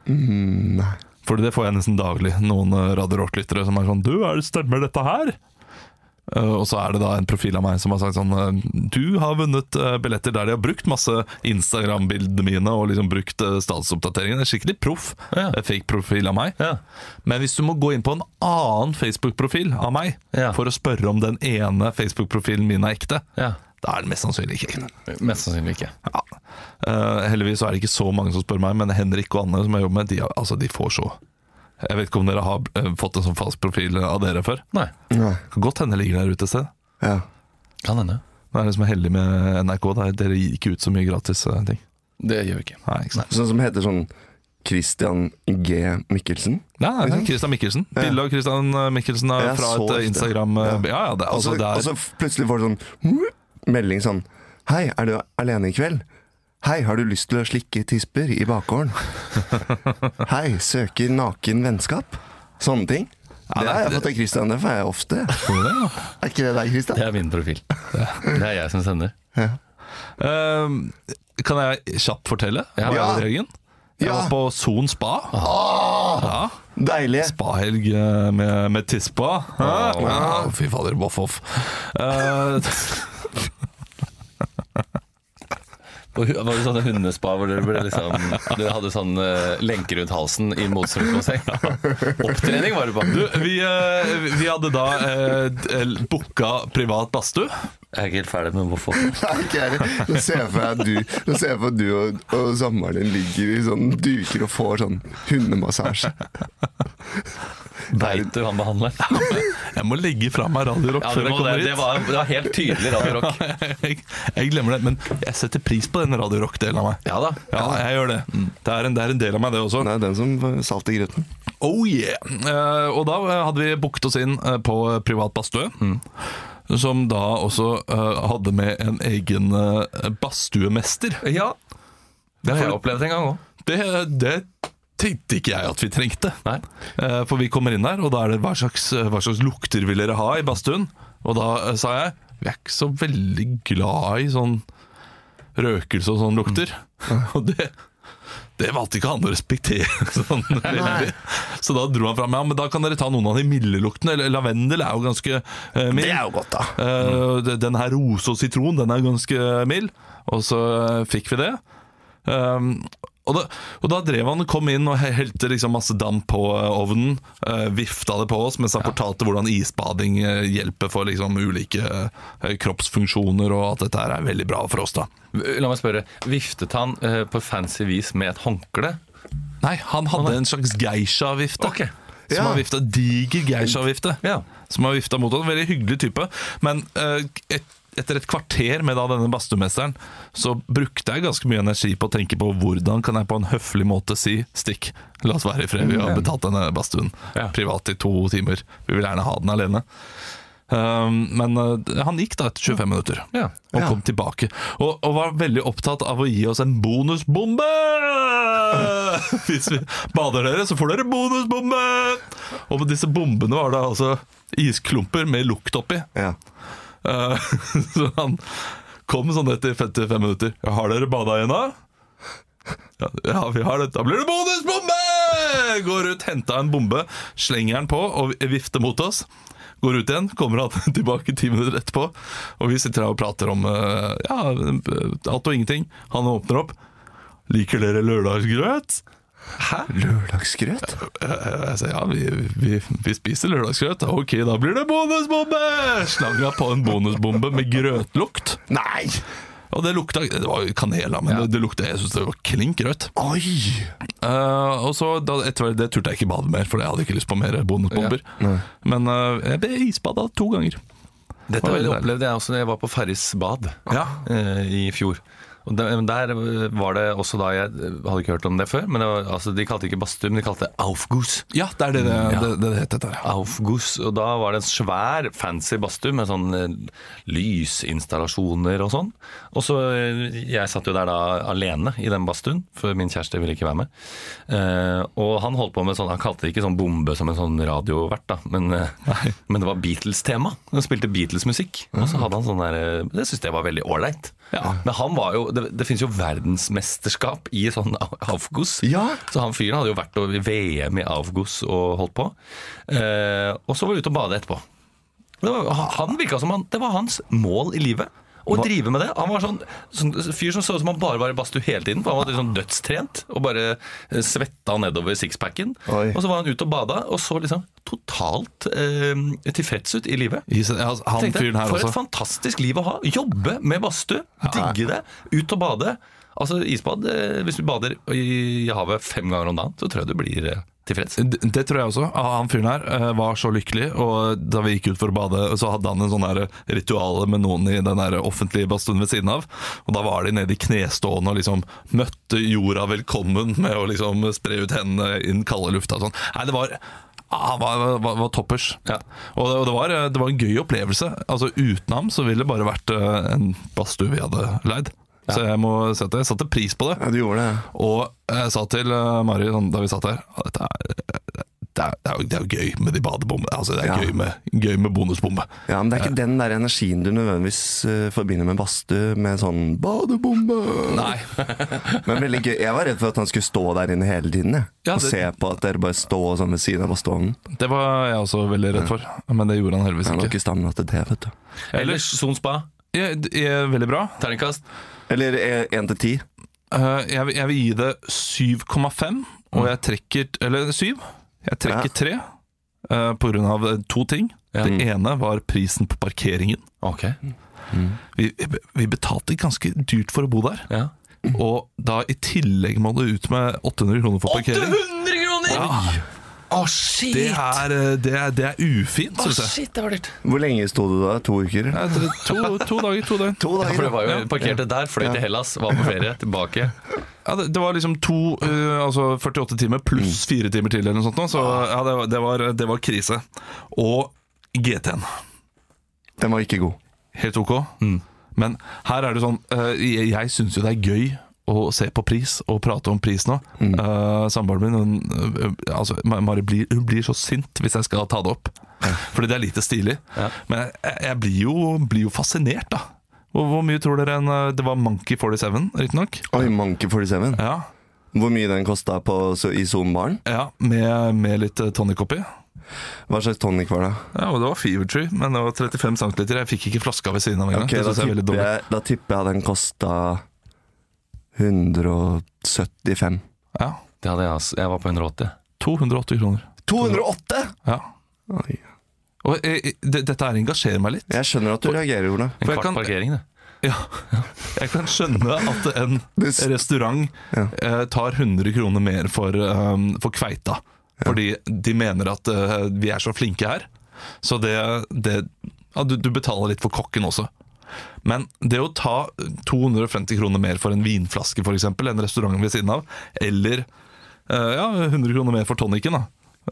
Speaker 3: Mm, nei.
Speaker 1: Fordi det får jeg nesten daglig. Noen eh, Radio Rock-lyttere som er sånn Du, er det stemmer dette her? Eh, Og så er det da en profil av meg som har sagt sånn eh, Du har vunnet eh, billetter der de har brukt masse Instagram-bildene mine og liksom brukt eh, statsoppdateringene. Det er Skikkelig proff.
Speaker 2: Ja.
Speaker 1: eh, Fake profil av meg.
Speaker 2: Ja.
Speaker 1: Men hvis du må gå inn på en annen Facebook-profil av meg
Speaker 2: Ja.
Speaker 1: for å spørre om den ene Facebook-profilen min er ekte,
Speaker 2: Ja. Mm.
Speaker 1: da er den mest sannsynlig ikke ekte.
Speaker 2: Mest sannsynlig ikke.
Speaker 1: Ja. Eh, heldigvis så er det ikke så mange som spør meg, men Henrik og Anne som jeg jobber med, de, har- altså, de får så. Jeg vet ikke om dere har eh, fått en sånn falsk profil av dere før.
Speaker 2: Nei.
Speaker 3: Nei.
Speaker 1: Kan Godt hende ligger der ute et sted.
Speaker 3: Ja.
Speaker 2: Kan hende.
Speaker 1: Det er det som er heldig med NRK. Det er, dere gir ikke ut så mye gratis eh, ting.
Speaker 2: Det gjør vi ikke.
Speaker 1: Nei, ikke sant?
Speaker 3: Sånn som heter sånn Christian G. Mikkelsen.
Speaker 1: Nei, nei, det er Christian Mikkelsen. Bilde av Christian eh, Mikkelsen er
Speaker 3: Ja,
Speaker 1: fra et
Speaker 3: så
Speaker 1: eh,
Speaker 3: ofte.
Speaker 1: Instagram eh, Ja, ja, det, er-
Speaker 3: Og så
Speaker 1: altså, det
Speaker 3: og
Speaker 1: er
Speaker 3: så f- plutselig får du sånn melding sånn Hei, er du alene i kveld? Hei, har du lyst til å slikke tisper i bakgården? Hei, søker naken vennskap? Sånne ting. det har jeg fått av Christian, det får jeg ofte. Er ikke det deg, Christian?
Speaker 2: Det er min profil. Det er jeg som sender.
Speaker 1: Eh, Kan jeg kjapt fortelle?
Speaker 2: Ja.
Speaker 1: hva jeg gjorde i helgen? Jeg
Speaker 3: Ja.
Speaker 1: var på Son spa. Ja.
Speaker 3: Deilig.
Speaker 1: Spahelg eh, med, med tispa. Hæ? Ja, fy fader, voff, voff. Eh,
Speaker 2: Og hu- var det sånne hundespa hvor dere, ble liksom, dere hadde sånn eh, lenke rundt halsen i motstrømsbasseng? Opptrening var det på.
Speaker 1: du, vi, eh, vi hadde da eh, d- booka privat badstue.
Speaker 2: Jeg er ikke helt ferdig med hvorfor.
Speaker 3: Nei, ikke jeg heller. Nå ser jeg for meg at du, nå ser jeg for meg at du og, og samboeren din ligger i sånn duker og får sånn hundemassasje.
Speaker 2: Veit du han behandler?
Speaker 1: Jeg må legge fra meg Radio Rock
Speaker 2: Ja,
Speaker 1: før
Speaker 2: det,
Speaker 1: jeg
Speaker 2: må, det,
Speaker 1: kommer hit.
Speaker 2: det, var, det var helt tydelig Radio Rock.
Speaker 1: jeg, jeg glemmer det, men jeg setter pris på den Radio Rock-delen av meg.
Speaker 2: Ja da. Mm.
Speaker 1: Ja, jeg gjør det. Det er en, det er en del av meg, det også.
Speaker 3: Det er den som får salt i grøten.
Speaker 1: Oh yeah! Eh, og da eh, hadde vi booket oss inn eh, på privat badstue.
Speaker 2: Mm.
Speaker 1: Som da også eh, hadde med en egen eh, badstuemester.
Speaker 2: Ja, det har jeg opplevd en gang òg.
Speaker 1: Det, det tenkte ikke jeg at vi trengte.
Speaker 2: Nei.
Speaker 1: Eh, For vi kommer inn der, og da er det hva slags, eh, hva slags lukter vil dere ha i badstuen? Og da eh, sa jeg vi er ikke så veldig glad i sånn røkelse og sånn lukter.
Speaker 2: Mm.
Speaker 1: Og det, det valgte ikke han å respektere. Sånn, veldig. så da dro han fram ja, men da kan dere ta noen av de milde luktene. eller Lavendel er jo ganske eh, mild.
Speaker 3: Det er jo godt, da.
Speaker 1: Eh, de- Den her rose og sitron, den er ganske eh, mild. Og så eh, fikk vi det. Um, og, da, og da drev han kom inn og he- helte liksom masse damp på eh, ovnen. eh, vifta det på oss mens han fortalte hvordan isbading eh, hjelper for liksom ulike eh, kroppsfunksjoner, og at dette her er veldig bra for oss. da
Speaker 2: La meg spørre. Viftet han eh, på fancy vis med et håndkle?
Speaker 1: Nei, han hadde en slags geisha-vifte.
Speaker 2: Ok.
Speaker 1: Som
Speaker 3: Ja.
Speaker 1: har vifta, Diger geisha-vifte.
Speaker 2: Ja.
Speaker 1: Som har vifta mot han, Veldig hyggelig type. Men eh, et, etter et kvarter med da denne badstumesteren, så brukte jeg ganske mye energi på å tenke på hvordan kan jeg på en høflig måte si 'stikk, la oss være i fred', vi har betalt denne badstuen
Speaker 2: Ja.
Speaker 1: privat i to timer. Vi vil gjerne ha den alene. Um, men eh, han gikk da etter 25 minutter
Speaker 2: Ja.
Speaker 1: og kom tilbake. Og, og var veldig opptatt av å gi oss en bonusbombe! Hvis vi bader dere, så får dere bonusbombe! Og på disse bombene var det altså isklumper med lukt oppi.
Speaker 3: Ja.
Speaker 1: Eh, så han kom sånn etter 55 minutter. Ja, 'Har dere bada igjen, da?' Ja, ja, vi har det. Da blir det bonusbombe! Går ut, henter en bombe, slenger den på og vifter mot oss. Går ut igjen, kommer han tilbake ti minutter etterpå, og vi sitter her og prater om eh, ja, alt og ingenting. Han åpner opp. 'Liker dere lørdagsgrøt?' Hæ?
Speaker 3: Lørdagsgrøt?
Speaker 1: Eh, Jeg sa ja, vi, vi, vi spiser lørdagsgrøt. Ok, da blir det bonusbombe! Slang jeg på en bonusbombe med grøtlukt.
Speaker 3: Nei!
Speaker 1: Og det lukta Det var jo kanel, da, men det, det lukta Jeg syns det var klink grøt.
Speaker 3: Oi!
Speaker 1: Eh, og så da, etter hvert- Det turte jeg ikke bade mer, for jeg hadde ikke lyst på mer bonusbomber. Men eh, jeg ble isbada to ganger.
Speaker 2: Dette
Speaker 1: var veldig deilig.
Speaker 2: opplevde jeg også da jeg var på Farris bad
Speaker 1: Ja.
Speaker 2: eh, i fjor. Og der, men der eh, var det også da jeg eh, hadde ikke hørt om det før, men det var, altså, de kalte det ikke badstue, men de kalte det Aufguss.
Speaker 1: Mm, Ja, det er det det, det, det, det het. Dette. her.
Speaker 2: Aufguss, og da var det en svær fancy badstue med sånn eh, lysinstallasjoner og sånn. Og så eh, jeg satt jo der da alene i den badstuen, for min kjæreste ville ikke være med. Eh, og han holdt på med sånn, han kalte det ikke sånn bombe som en sånn radiovert da, men, eh, men det var Beatles-tema. Han spilte Beatles-musikk, og så hadde han sånn der, eh, det synes jeg var veldig ålreit.
Speaker 1: Ja.
Speaker 2: Men han var jo, det, det finnes jo verdensmesterskap i sånn Aufguss.
Speaker 3: Ja.
Speaker 2: Så han fyren hadde jo vært og- i VM i Avgos og holdt på. Eh, og så var vi ute og bade etterpå. Det var, han virka som han, det var hans mål i livet. Å drive med det. Han var sånn, sånn fyr som så ut som han bare var i badstue hele tiden. For han var liksom dødstrent og bare eh, svetta nedover sixpacken.
Speaker 3: Oi.
Speaker 2: Og så var han ute og bada og så liksom totalt eh, tilfreds ut i livet.
Speaker 1: Gi seg- altså, Han
Speaker 2: Tenkte,
Speaker 1: fyren her
Speaker 2: for et
Speaker 1: også.
Speaker 2: fantastisk liv å ha. Jobbe med badstue, digge det, ut og bade. Altså isbad, eh, Hvis du bader i havet fem ganger om dagen, så tror jeg du blir eh, tilfreds.
Speaker 1: Det det tror jeg også. Han fyren her eh, var så lykkelig, og da vi gikk ut for å bade, så hadde han en sånn her rituale med noen i den her offentlige badstuen ved siden av. Og da var de nede i knestående og liksom møtte jorda velkommen med å liksom spre ut hendene i den kalde lufta og sånn. Nei, det var ah, han var, var, var toppers.
Speaker 2: Ja.
Speaker 1: Og, det, og det, var, eh, det var en gøy opplevelse. Altså Uten ham så ville det bare vært eh, en badstue vi hadde leid. Så jeg må si at jeg satte pris på det.
Speaker 3: Ja, du gjorde det.
Speaker 1: Og jeg sa til eh, Mari sånn, da vi satt her «Ah, dette er, det, er, det, er jo, det er jo gøy med de badebombene. Altså, det er
Speaker 3: Ja.
Speaker 1: gøy, med, gøy med bonusbombe.
Speaker 3: Ja, men det er ikke den der energien du nødvendigvis eh, forbinder med badstue, med sånn 'badebombe'.
Speaker 1: Nei.
Speaker 3: Men veldig gøy. Jeg var redd for at han skulle stå der inne hele tiden. Jeg.
Speaker 1: Ja, det-
Speaker 3: Og se på at dere bare står sånn ved siden av badstuen.
Speaker 1: Det var jeg også veldig redd for, men det gjorde han heldigvis
Speaker 3: Han har
Speaker 1: ikke.
Speaker 3: ikke stamina til det, vet du.
Speaker 2: Ellers Son spa,
Speaker 1: Jeg, jeg, veldig bra.
Speaker 2: terningkast.
Speaker 3: Eller én til ti.
Speaker 1: Eh, Jeg, vil- jeg vil gi det 7,5, og jeg trekker Eller 7. Jeg
Speaker 3: Ja.
Speaker 1: trekker 3 eh, på grunn av to ting.
Speaker 2: Ja.
Speaker 1: Det ene var prisen på parkeringen.
Speaker 2: Ok,
Speaker 1: Vi, vi betalte ganske dyrt for å bo der.
Speaker 2: ja
Speaker 1: Og da i tillegg må du ut med 800 kroner for parkering.
Speaker 2: 800 kroner! Å, shit!
Speaker 1: Det er, eh, det er, det er ufint,
Speaker 2: Å,
Speaker 1: syns jeg.
Speaker 2: shit, det var dyrt.
Speaker 3: Hvor lenge sto du da? To uker?
Speaker 1: Nei, det er To, to dager, to døgn.
Speaker 3: To
Speaker 2: For det
Speaker 3: dager.
Speaker 2: var jo parkerte der, fløy til Hellas, var på ferie, tilbake.
Speaker 1: Ja, det, det var liksom to eh, Altså 48 timer pluss fire timer til, eller noe sånt. nå, Så ja, det var, det var, det var krise. Og GT-en.
Speaker 3: Den var ikke god.
Speaker 1: Helt ok. Men her er det sånn eh, Jeg, jeg syns jo det er gøy å se på pris og prate om pris nå. Mm. Samboeren min hun, eh, altså, Ma- Mari blir, hun blir så sint hvis jeg skal ta det opp. Fordi det er lite stilig. Men jeg, jeg blir, jo, blir jo fascinert, da. Hvor, hvor mye tror dere en eh, Det var Monkey 47, riktignok.
Speaker 3: Oi, Monkey 47.
Speaker 1: Ja,
Speaker 3: Hvor mye den kosta på- så- i Zoombaren?
Speaker 1: ja, med, med litt eh, tonic oppi.
Speaker 3: Hva slags tonic var det?
Speaker 1: Ja, og Det var Fever Tree, men det var 35 cm. Jeg fikk ikke flaska ved siden av engang.
Speaker 3: Ok,
Speaker 1: det
Speaker 3: da,
Speaker 1: synes jeg er veldig
Speaker 3: tipper
Speaker 1: dumt.
Speaker 3: jeg, da tipper jeg den kosta 175.
Speaker 1: Ja,
Speaker 2: Det hadde jeg, altså. Jeg var på 180.
Speaker 1: 280 kroner.
Speaker 3: 208?!
Speaker 1: Ja
Speaker 3: Oi.
Speaker 1: Og eh, eh, det, dette her engasjerer meg litt.
Speaker 3: Jeg skjønner at du reagerer, Ola.
Speaker 2: En
Speaker 1: For jeg
Speaker 2: kvart
Speaker 1: kan-
Speaker 2: parkering, det.
Speaker 1: Ja. Jeg kan skjønne at en
Speaker 3: Det s-
Speaker 1: restaurant
Speaker 3: Ja.
Speaker 1: eh, tar 100 kroner mer for, eh, for kveita. Fordi de mener at eh, vi er så flinke her. Så det, det ja, du, du betaler litt for kokken også. Men det å ta 250 kroner mer for en vinflaske for eksempel, enn restauranten ved siden av, eller eh, ja, 100 kroner mer for tonicen, da,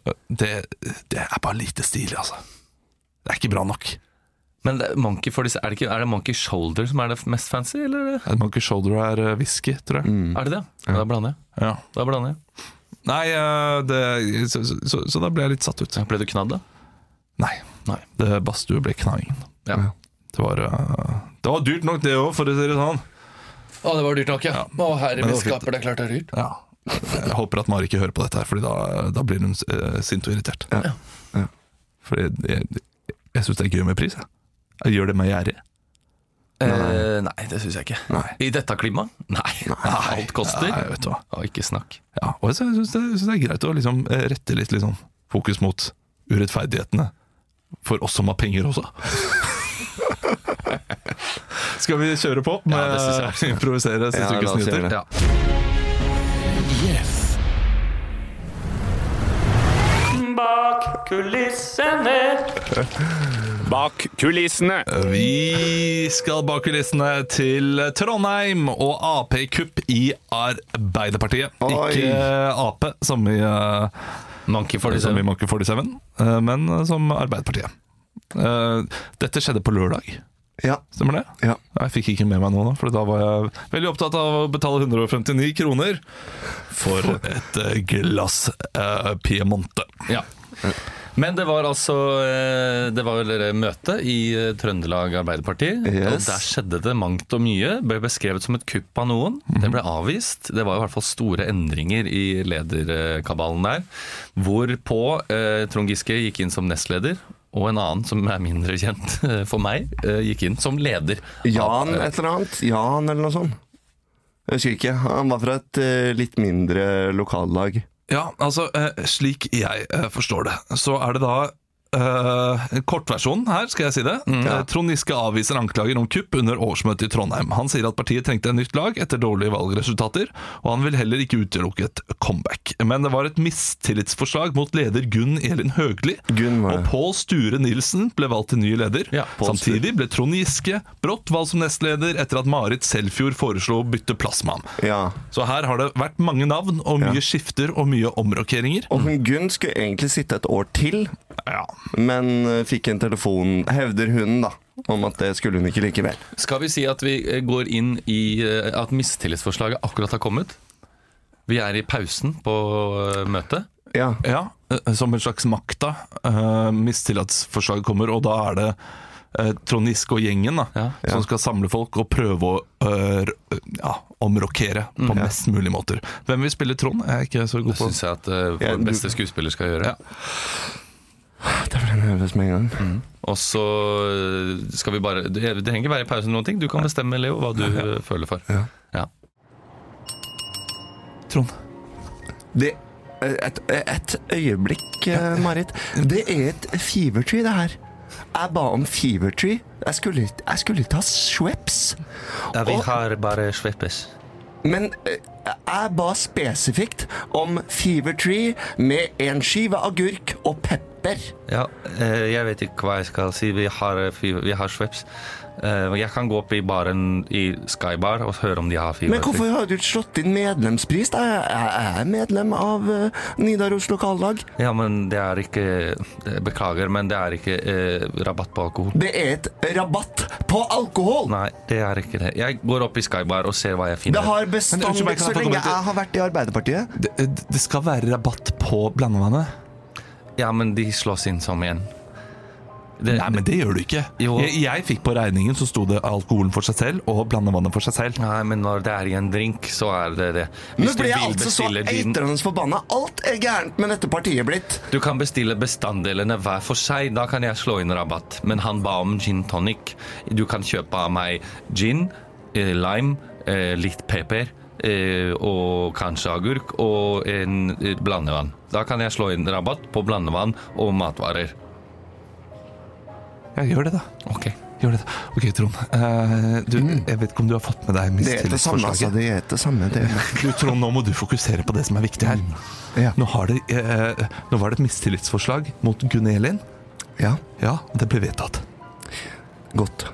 Speaker 1: eh, det, det er bare lite stilig, altså. Det er ikke bra nok.
Speaker 2: Men det, monkey for disse, er, det ikke, er det Monkey Shoulder som er det mest fancy, eller
Speaker 1: Monkey Shoulder er eh, whisky, tror jeg.
Speaker 2: er det det? Da blander jeg.
Speaker 1: Ja.
Speaker 2: Da blander jeg.
Speaker 1: Nei, eh, det, så, så, så, så da ble jeg litt satt ut.
Speaker 2: Ja, Ble du knadd, da?
Speaker 1: Nei.
Speaker 2: Nei.
Speaker 1: Det badstue ble knaingen.
Speaker 2: Ja.
Speaker 1: Det var, eh, det var dyrt nok, det òg, for å si det sånn.
Speaker 2: Å, det var dyrt nok, ja. Å, herre
Speaker 1: min skaper,
Speaker 2: det er klart det er dyrt.
Speaker 1: Ja. Jeg håper at Mari ikke hører på dette, her Fordi da, da blir hun eh, sint og irritert.
Speaker 3: Ja. Ja.
Speaker 1: Fordi jeg, jeg syns det er gøy med pris. Jeg. Jeg gjør det meg gjerrig.
Speaker 2: Eh, nei, det syns jeg ikke. I dette klimaet? Nei. Alt koster.
Speaker 1: Nei, vet du hva.
Speaker 2: Å, ikke snakk.
Speaker 1: Ja, og jeg syns det, jeg synes det er greit å liksom eh, rette litt liksom, fokus mot urettferdighetene. For oss som har penger også. Skal vi kjøre på med
Speaker 2: Ja, det synes
Speaker 1: å
Speaker 2: jeg
Speaker 1: improvisere siste
Speaker 3: Ja, la
Speaker 1: ukes
Speaker 3: oss
Speaker 1: nyheter?
Speaker 3: gjøre det.
Speaker 1: Ja.
Speaker 4: Bak kulissene.
Speaker 5: Bak kulissene.
Speaker 1: Vi skal bak kulissene til Trondheim og Ap-kupp i Arbeiderpartiet.
Speaker 3: Oi.
Speaker 1: Ikke Ap, som i eh,
Speaker 2: Monkey for
Speaker 1: som i
Speaker 2: disse.
Speaker 1: Monkey 47, eh, men som Arbeiderpartiet. Eh, Dette skjedde på lørdag,
Speaker 3: Ja.
Speaker 1: stemmer det?
Speaker 3: ja.
Speaker 1: Jeg fikk ikke med meg noe, da, for da var jeg veldig opptatt av å betale 159 kroner for et eh, glass eh, Piemonte.
Speaker 2: Ja. Men det var altså eh, Det var vel et møte i eh, Trøndelag Arbeiderparti. Og
Speaker 3: Yes.
Speaker 2: der skjedde det mangt og mye. Ble beskrevet som et kupp av noen. Det ble avvist. Det var i hvert fall store endringer i lederkabalen der. Hvorpå eh, Trond Giske gikk inn som nestleder. og en annen som er mindre kjent eh, for meg, eh, gikk inn som leder. av,
Speaker 3: Jan
Speaker 2: eh,
Speaker 3: et eller annet? Jan eller noe sånt? Jeg husker ikke. Han var fra et eh, litt mindre lokallag.
Speaker 1: Ja, altså, eh, slik jeg eh, forstår det, så er det da eh, kortversjonen her, skal jeg si det.
Speaker 3: Mm.
Speaker 1: Eh, Trond Giske avviser anklager om kupp under årsmøtet i Trondheim. Han sier at partiet trengte et nytt lag etter dårlige valgresultater, og han vil heller ikke utelukke et comeback. Men det var et mistillitsforslag mot leder Gunn Elin Høgli,
Speaker 3: Gunn var
Speaker 1: og
Speaker 3: det.
Speaker 1: Pål Sture Nilsen ble valgt til ny leder.
Speaker 2: Ja, Pål Sture.
Speaker 1: Samtidig ble Trond Giske brått valgt som nestleder etter at Marit Selfjord foreslo å bytte plass med ham.
Speaker 3: Ja.
Speaker 1: Så her har det vært mange navn, og mye skifter og mye omrokeringer.
Speaker 3: Og hun Gunn skulle egentlig sitte et år til,
Speaker 1: Ja.
Speaker 3: men eh, fikk en telefon, hevder hun, da, om at det skulle hun ikke likevel.
Speaker 2: Skal vi si at vi eh, går inn i eh, at mistillitsforslaget akkurat har kommet? Vi er i pausen på eh, møtet.
Speaker 3: Ja.
Speaker 1: ja, eh, Som en slags makta. Uh, Mistillitsforslag kommer, og da er det eh, Trond Giske og gjengen da,
Speaker 2: Ja.
Speaker 1: som skal samle folk og prøve å eh, r- ja, omrokere på mest mulig måter. Hvem vil spille Trond? Jeg er ikke så god
Speaker 2: Det
Speaker 1: på
Speaker 2: syns jeg at eh,
Speaker 3: Ja,
Speaker 2: vår
Speaker 3: du-
Speaker 2: beste skuespiller skal gjøre.
Speaker 3: Da ble jeg nervøs med en gang.
Speaker 2: Og så eh, skal vi bare Det det trenger ikke være i pausen eller noen ting. Du kan bestemme, Leo, hva du eh, føler for. Ja.
Speaker 1: Trond.
Speaker 3: Det et, et øyeblikk, eh, Marit. Det er et fevertree, det her. Jeg ba om fevertree. Jeg skulle, jeg skulle ta Schweppes. vi Og-
Speaker 2: har bare sveppes.
Speaker 3: Men eh, jeg ba spesifikt om fevertree med en skive agurk og pepper.
Speaker 2: Ja, eh, jeg vet ikke hva jeg skal si. Vi har, eh, fi- vi har Schweppes. Eh, jeg kan gå opp i baren i Skybar og høre om de har fiber.
Speaker 3: Men hvorfor har du ikke slått inn medlemspris? da? Jeg, jeg, jeg er medlem av eh, Nidaros lokallag.
Speaker 2: Ja, men det er ikke eh, Beklager, men det er ikke eh, rabatt på alkohol.
Speaker 3: Det er et rabatt på alkohol!
Speaker 2: Nei, det er ikke det. Jeg går opp i Skybar og ser hva jeg finner.
Speaker 3: Det har
Speaker 1: Men unnskyld
Speaker 3: bestandig,
Speaker 1: meg, kan
Speaker 3: så
Speaker 1: jeg få
Speaker 3: lenge
Speaker 1: komme til-
Speaker 3: jeg har vært i Arbeiderpartiet
Speaker 1: Det, eh, det skal være rabatt på blandevannet.
Speaker 2: Ja, men de slås inn som igjen. Det,
Speaker 1: Nei, men det gjør du ikke.
Speaker 2: Jo.
Speaker 1: Jeg, jeg fikk på regningen så sto det alkoholen for seg selv og blandevannet for seg selv.
Speaker 2: Nei, men når det er i en drink, så er det det.
Speaker 3: Nå
Speaker 2: Hvis du
Speaker 3: ble jeg
Speaker 2: vil
Speaker 3: altså så
Speaker 2: bestille din-
Speaker 3: eitrende forbanna. Alt er gærent med dette partiet blitt.
Speaker 2: Du kan bestille bestanddelene hver for seg, da kan jeg slå inn rabatt. Men han ba om gin tonic. Du kan kjøpe av meg gin, eh, lime, eh, litt pepper eh, og kanskje agurk og en eh, blandevann. Da kan jeg slå inn rabatt på blandevann og matvarer.
Speaker 1: Ja, gjør det, da.
Speaker 2: Ok.
Speaker 1: Gjør det. da. Ok, Trond. Eh, du, jeg vet ikke om du har fått med deg
Speaker 3: Mm. Det er det samme, altså.
Speaker 1: mistillitsforslaget.
Speaker 3: Det er det samme. Det er.
Speaker 1: Du, Trond, nå må du fokusere på det som er viktig her.
Speaker 3: Mm. Ja.
Speaker 1: Nå, har det, eh, nå var det et mistillitsforslag mot Gunn Elin.
Speaker 3: Ja,
Speaker 1: Ja, det ble vedtatt.
Speaker 3: godt.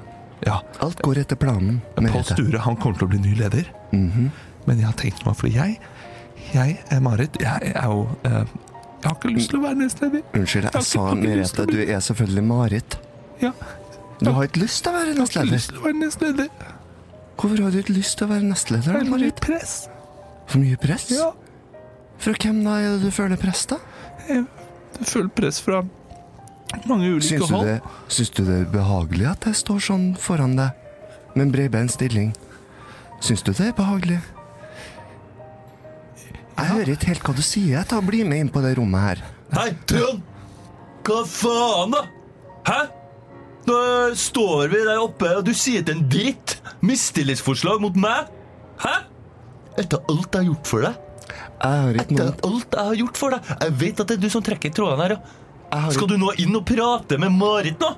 Speaker 1: Ja.
Speaker 3: Alt går etter planen.
Speaker 1: Pål
Speaker 3: Merete.
Speaker 1: Sture han kommer til å bli ny leder.
Speaker 3: Mhm.
Speaker 1: Men jeg har tenkt meg fordi jeg, jeg eh, Marit, jeg er jo eh, Jeg har ikke lyst til å være nestleder.
Speaker 3: Unnskyld, jeg sa Merete. Du er selvfølgelig Marit.
Speaker 1: Ja,
Speaker 3: Du har ikke lyst til å være
Speaker 1: jeg har ikke lyst
Speaker 3: nestleder.
Speaker 1: til å være nestleder.
Speaker 3: Hvorfor har du ikke lyst til å være
Speaker 1: Det
Speaker 3: nestleder, da,
Speaker 1: er litt
Speaker 3: Marit?
Speaker 1: press.
Speaker 3: For mye press?
Speaker 1: Ja.
Speaker 3: Fra hvem da er det du føler press, da?
Speaker 1: Jeg føler press fra mange ulike
Speaker 3: Syns du,
Speaker 1: hold.
Speaker 3: det, syns du det er behagelig at jeg står sånn foran deg med en bredbeint stilling? Syns du det er behagelig? Jeg hører ikke helt hva du sier. Jeg tar Bli med inn på det rommet her.
Speaker 2: Hei, Trond! Hva faen, da? Hæ? Nå står vi der oppe, og du sier til en dritt. Mistillitsforslag mot meg? Hæ?
Speaker 6: Etter alt jeg har gjort for deg.
Speaker 3: Jeg har ikke
Speaker 6: Etter
Speaker 3: noen
Speaker 6: alt jeg har gjort for deg. Jeg vet at det er du som trekker i trådene her, ja.
Speaker 3: jeg har
Speaker 6: Skal du nå inn og prate med Marit nå?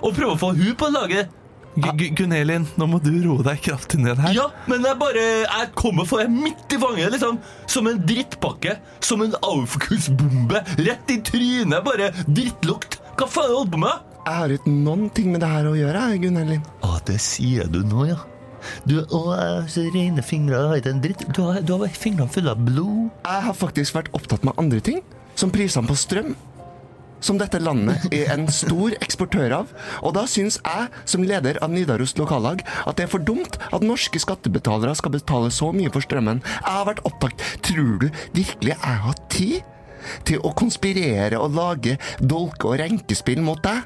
Speaker 6: Og prøve å få hun på laget?
Speaker 1: Gu- Gu- Gunn-Elin, nå må du roe deg kraftig ned her.
Speaker 6: Ja, men jeg bare Jeg kommer for deg midt i fanget, liksom. Som en drittpakke. Som en aufkussbombe. Rett i trynet. Bare drittlukt. Hva faen er det du holder på med?
Speaker 3: Jeg har ikke noen ting med det her å gjøre, jeg, Gunn Elin.
Speaker 6: Ja, det sier du nå, ja. Du, å, jeg har så rene fingre, jeg har ikke en dritt. Du har, du har fingrene fulle av blod.
Speaker 3: Jeg har faktisk vært opptatt med andre ting, som prisene på strøm. Som dette landet er en stor eksportør av. Og da syns jeg, som leder av Nidaros lokallag, at det er for dumt at norske skattebetalere skal betale så mye for strømmen. Jeg har vært opptatt Tror du virkelig jeg har tid til å konspirere og lage dolke- og renkespill mot deg?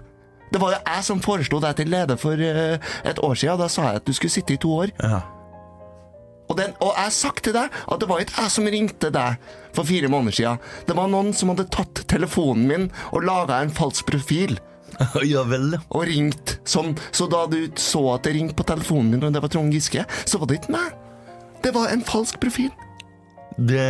Speaker 3: Det var jo jeg som foreslo deg til leder for eh, et år siden, og da sa jeg at du skulle sitte i to år. Og, den, og jeg har sagt til deg at det var ikke jeg som ringte deg for fire måneder siden. Det var noen som hadde tatt telefonen min og laga en falsk profil.
Speaker 6: ja vel, ja.
Speaker 3: og ringt som Så da du så at det ringte på telefonen min, og det var Trond Giske, så var det ikke meg. Det var en falsk profil.
Speaker 6: Det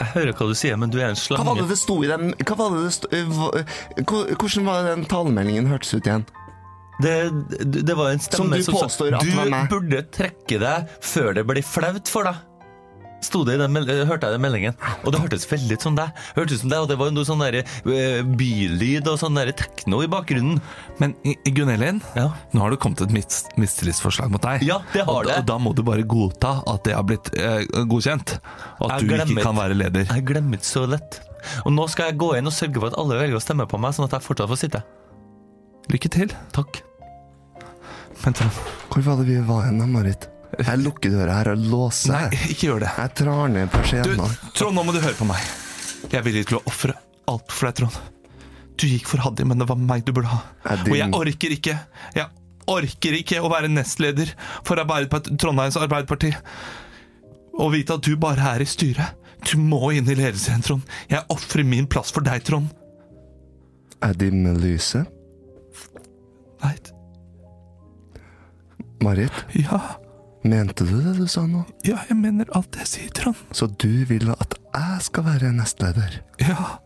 Speaker 6: Jeg hører hva du sier, men du er en
Speaker 3: Hva var det
Speaker 6: slange.
Speaker 3: det sto i den hva var det det sto, eh, hva- eh, hva- Hvordan var det den talemeldingen hørtes ut igjen?
Speaker 6: Det, det, det var en stemme
Speaker 3: Som du
Speaker 6: sa,
Speaker 3: påstår at
Speaker 6: Du
Speaker 3: var meg."
Speaker 6: burde trekke deg før det blir flaut for deg. Sto det i den, mel- eh, hørte jeg den meldingen, og det hørtes veldig ut som deg. Hørtes ut som deg, og Det var noe sånn der, eh, bylyd og sånn der tekno i bakgrunnen.
Speaker 1: Men I- Gunn Elin,
Speaker 6: Ja.
Speaker 1: nå har det kommet et mis mistillitsforslag mot deg.
Speaker 6: Ja, det har
Speaker 1: og, da-
Speaker 6: det.
Speaker 1: og da må du bare godta at det har blitt eh, godkjent. Og at
Speaker 6: Jeg
Speaker 1: du
Speaker 6: glemmer.
Speaker 1: ikke kan være leder.
Speaker 6: Jeg glemmer ikke så lett. Og nå skal jeg gå inn og sørge for at alle velger å stemme på meg, sånn at jeg fortsatt får sitte.
Speaker 1: Lykke til.
Speaker 6: Takk.
Speaker 1: Vent, da.
Speaker 3: Hvor var det vi var hen, da, Marit? Jeg lukker døra her og låser.
Speaker 1: Nei, ikke gjør det.
Speaker 3: Jeg drar ned
Speaker 1: Du,
Speaker 3: persienna.
Speaker 1: Trond, nå må du høre på meg. Jeg er villig til å ofre alt for deg, Trond. Du gikk for Hadia, men det var meg du burde ha.
Speaker 3: Er din-
Speaker 1: Og jeg orker ikke. Jeg orker ikke å være nestleder for Arbeiderpart Trondheims Arbeiderparti. Og vite at du bare er i styret. Du må inn i ledelsen, Trond. Jeg ofrer min plass for deg, Trond.
Speaker 3: Jeg dimmer lyset.
Speaker 1: Nei,
Speaker 3: Marit,
Speaker 1: ja,
Speaker 3: mente du det du sa nå?
Speaker 1: ja, jeg mener alt jeg sier, Trond.
Speaker 3: Så du vil at jeg skal være nestleder?
Speaker 1: Ja.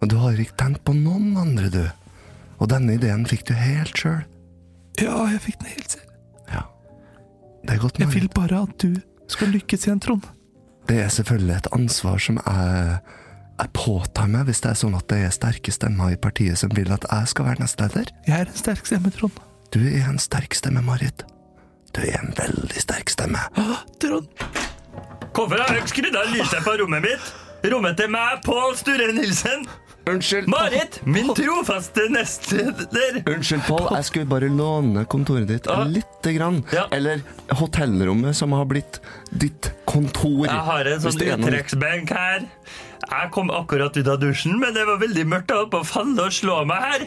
Speaker 3: Og du har ikke tenkt på noen andre, du? Og denne ideen fikk du helt sjøl?
Speaker 1: Ja, jeg fikk den helt selv.
Speaker 3: Ja. Det er godt,
Speaker 1: Jeg vil
Speaker 3: Marit.
Speaker 1: bare at du skal lykkes igjen, Trond.
Speaker 3: Det er selvfølgelig et ansvar som jeg, jeg påtar meg, hvis det er sånn at det er sterke stemmer i partiet som vil at jeg skal være nestleder.
Speaker 1: Jeg er en sterk stemme, Trond.
Speaker 3: Du er en sterk stemme, Marit. Du er en veldig sterk stemme.
Speaker 1: Trond.
Speaker 7: Hvorfor har dere skrudd av lyset på rommet mitt? Rommet til meg, Pål Sture Nilsen.
Speaker 3: Unnskyld,
Speaker 7: Marit, min trofaste nestleder.
Speaker 3: Unnskyld, Pål. Jeg skulle bare låne kontoret ditt
Speaker 7: Ja.
Speaker 3: lite grann.
Speaker 7: Ja.
Speaker 3: Eller hotellrommet, som har blitt ditt kontor.
Speaker 7: Jeg har en
Speaker 3: Hvis
Speaker 7: sånn
Speaker 3: det er noe-
Speaker 7: uttrekksbenk her. Jeg kom akkurat ut av dusjen, men det var veldig mørkt. Jeg holdt på å falle og slå meg her.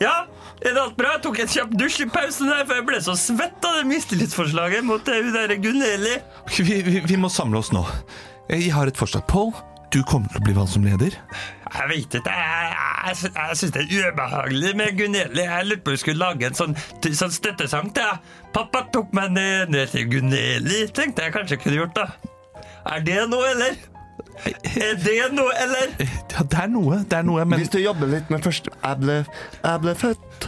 Speaker 7: Ja, er det alt bra? Jeg tok en kjapp dusj i pausen her, for jeg ble så svett av det mistillitsforslaget mot eh, hun derre Gunn-Eli.
Speaker 1: Ok, Vi, vi, vi må samle oss nå. Eh, Jeg har et forslag. Paul, du kommer til å bli valgt som leder.
Speaker 7: Jeg vet ikke, jeg, jeg, sy- jeg syns det er ubehagelig med Gunn-Eli. Jeg lurte på om vi skulle lage en sånn, t- sånn støttesang til jeg. Pappa tok meg ned, ned til Gunn-Eli, tenkte jeg kanskje kunne gjort, da. Er det noe, eller? Er det noe, eller?
Speaker 1: Ja, det er noe, det er noe, men
Speaker 3: Hvis du jobber litt med først Jeg ble, jeg ble født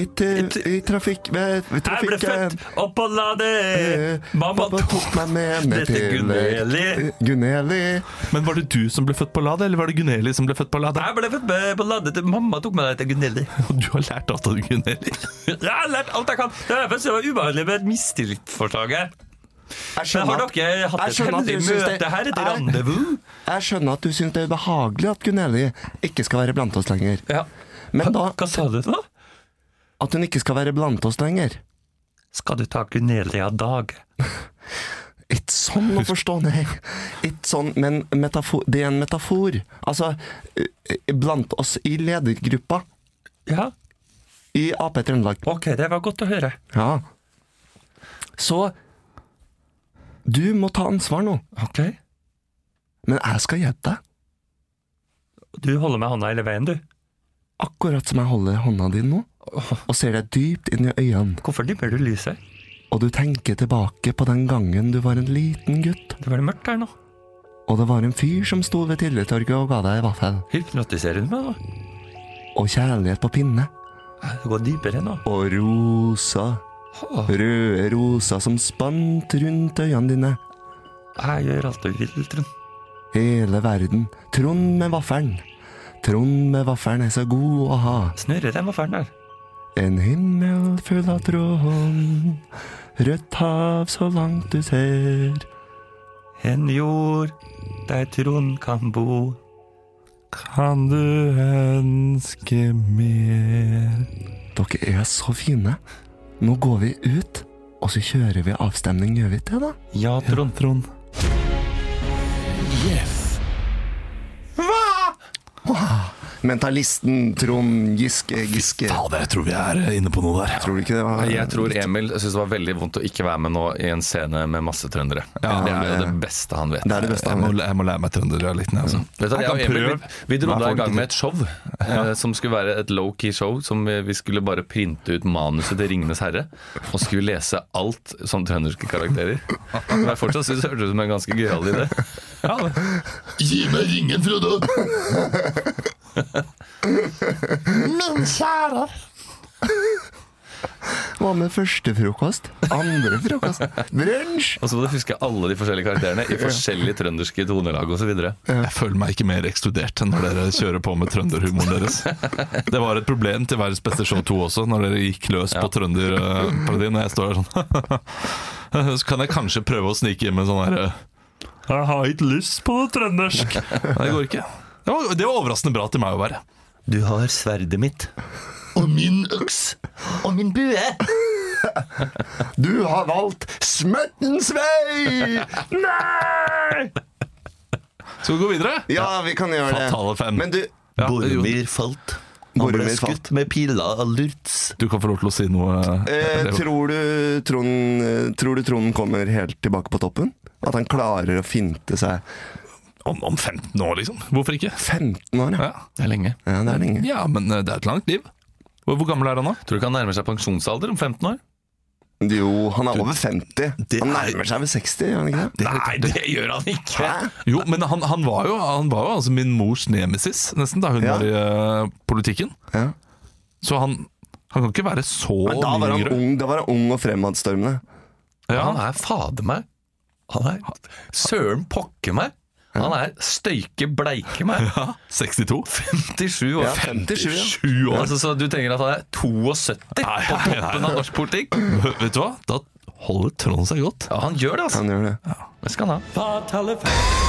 Speaker 3: i, t- i trafikk... Ved, ved
Speaker 7: Jeg ble
Speaker 3: trafikken.
Speaker 7: født opp og la det
Speaker 3: Eh,
Speaker 7: Mamma
Speaker 3: Pappa
Speaker 7: tok
Speaker 3: tok meg med, med
Speaker 7: Dette er
Speaker 3: til eh,
Speaker 7: Gunn-Eli.
Speaker 3: Guneli.
Speaker 1: Men var det du som ble født på Lade, eller var det Guneli som ble født på Lade?
Speaker 7: Jeg ble født med på landet til Mamma tok med deg til Gunn-Eli.
Speaker 1: Og du har lært alt av Guneli.
Speaker 7: Jeg har lært alt jeg kan. Det er derfor det var ubehagelig med et mistillitsforslag her.
Speaker 3: Jeg
Speaker 7: Men har
Speaker 3: skjønner, at,
Speaker 7: dere hatt
Speaker 3: jeg
Speaker 7: et
Speaker 3: skjønner at
Speaker 7: heldig
Speaker 3: du syns det-
Speaker 7: møte her? Et
Speaker 3: Nei.
Speaker 7: rendezvous?
Speaker 3: jeg skjønner at du syns det er ubehagelig at Guneli ikke skal være blant oss lenger.
Speaker 7: Ja.
Speaker 3: Men da
Speaker 7: Hva sa du nå?
Speaker 3: at hun ikke skal være blant oss lenger.
Speaker 7: Skal du ta Gunn-Eli av dag?
Speaker 3: Ikke sånn å forstå, nei. Ikke sånn, men metafor, det er en metafor. Altså, eh, eh, blant oss i ledergruppa
Speaker 7: Ja,
Speaker 3: i Ap Trøndelag.
Speaker 7: OK, det var godt å høre.
Speaker 3: Ja. Så du må ta ansvar nå.
Speaker 7: Ok.
Speaker 3: Men jeg skal hjelpe deg,
Speaker 7: Du holder med hånda hele veien, du.
Speaker 3: akkurat som jeg holder hånda di nå, og ser deg dypt inn i øynene,
Speaker 7: Hvorfor dimmer du lyset?
Speaker 3: og du tenker tilbake på den gangen du var en liten gutt,
Speaker 7: Det var det mørkt her nå.
Speaker 3: og det var en fyr som sto ved Tilletorget og ga deg vaffel,
Speaker 7: Hypnotiserer du meg nå?
Speaker 3: og kjærlighet på pinne.
Speaker 7: Det går dypere nå.
Speaker 3: og rosa. Røde rosa som spant rundt øynene dine.
Speaker 7: Jeg gjør alt du vil, Trond.
Speaker 3: Hele verden. Trond med vaffelen. Trond med vaffelen er så god å ha.
Speaker 7: Snurrer dem og ferner.
Speaker 3: En himmel full av Trond. Rødt hav så langt du ser.
Speaker 7: En jord der Trond kan bo. Kan du ønske mer
Speaker 3: Dere er så fine. Nå går vi ut, og så kjører vi avstemning, gjør vi ikke det, da?
Speaker 7: Ja, Trond. Trond.
Speaker 3: Hva Mentalisten Trond Giske Giske.
Speaker 1: Fader, jeg tror vi er inne på noe der.
Speaker 3: Tror du ikke det var
Speaker 2: Jeg tror Emil syns det var veldig vondt å ikke være med nå i en scene med masse trøndere. det er jo det beste han vet.
Speaker 3: Det er det beste
Speaker 1: Jeg
Speaker 3: han
Speaker 1: må,
Speaker 3: vet.
Speaker 1: jeg må lære meg trønderdialekten. Altså.
Speaker 2: Vet du, jeg og
Speaker 1: Jeg kan
Speaker 2: Emil,
Speaker 1: prøve.
Speaker 2: vi, vi dro
Speaker 3: Hva
Speaker 2: da
Speaker 3: får
Speaker 2: i
Speaker 3: du
Speaker 2: gang
Speaker 3: til?
Speaker 2: med et show eh, som skulle være et low-key show. Som vi, vi skulle bare printe ut manuset til 'Ringenes herre' og skulle lese alt som trønderske karakterer. Men jeg fortsatt synes det hørtes ut som en ganske gøyal idé.
Speaker 1: Ja,
Speaker 2: Gi meg ringen, Frode!
Speaker 3: Min kjære! Hva med første frokost? Andre frokost? Brunsj?
Speaker 2: Og så må du huske alle de forskjellige karakterene i forskjellige trønderske tonelag osv.
Speaker 1: Jeg føler meg ikke mer ekskludert enn når dere kjører på med trønderhumoren deres. Det var et problem til Verdens beste show 2 også, når dere gikk løs på trønderparodien. Og jeg står der sånn Så kan jeg kanskje prøve å snike inn med sånn herre Jeg har ikke lyst på noe trøndersk. Nei, det går ikke. Det var, det var overraskende bra til meg å være.
Speaker 6: Du har sverdet mitt. Og min øks. Og min bue.
Speaker 3: Du har valgt smøttens vei! Nei!
Speaker 1: Skal vi gå videre?
Speaker 3: Ja, vi kan gjøre det.
Speaker 1: Fatale fem.
Speaker 3: Men du,
Speaker 1: Ja, jo,
Speaker 6: Boromir falt. Han ble
Speaker 3: Boromir falt.
Speaker 6: skutt med piler av lurts.
Speaker 1: du kan få lov til å si noe.
Speaker 3: eh, tror, du Trond, eh, tror du Trond kommer helt tilbake på toppen? At han klarer å finte seg
Speaker 1: Om, om 15 år, liksom. Hvorfor ikke?
Speaker 3: 15 år? Ja,
Speaker 1: Ja,
Speaker 2: Det er lenge.
Speaker 3: ja det er lenge.
Speaker 1: ja men eh, det er et langt liv. Hvor, hvor gammel er han nå?
Speaker 2: Tror du ikke han nærmer seg pensjonsalder om 15 år?
Speaker 3: Jo, han er over 50.
Speaker 1: Det
Speaker 3: Han
Speaker 1: er-
Speaker 3: nærmer seg vel 60, gjør han ikke det?
Speaker 1: Nei,
Speaker 2: Det gjør han ikke!
Speaker 1: Jo, men han, han var jo, han var jo altså min mors nemesis, nesten, da hun
Speaker 3: Ja.
Speaker 1: var i eh, politikken.
Speaker 3: Ja.
Speaker 1: Så han, han kan ikke være så
Speaker 3: Men da var
Speaker 1: mye
Speaker 3: han
Speaker 1: yngre.
Speaker 3: ung, da var han ung og fremadstormende.
Speaker 2: Ja, han er fader meg Han er søren pokke meg Han er støyke bleike meg
Speaker 1: Ja, 62.
Speaker 2: 57 år
Speaker 3: 57, ja.
Speaker 1: 7 år.
Speaker 2: Altså, så du tenker at han er 72
Speaker 1: Nei,
Speaker 2: på
Speaker 1: nei,
Speaker 2: toppen
Speaker 1: nei.
Speaker 2: av norsk politikk?
Speaker 1: Vet du hva? Da holder Trond seg godt.
Speaker 2: Ja, han gjør det, altså.
Speaker 3: Han gjør det.
Speaker 2: Det skal han ha.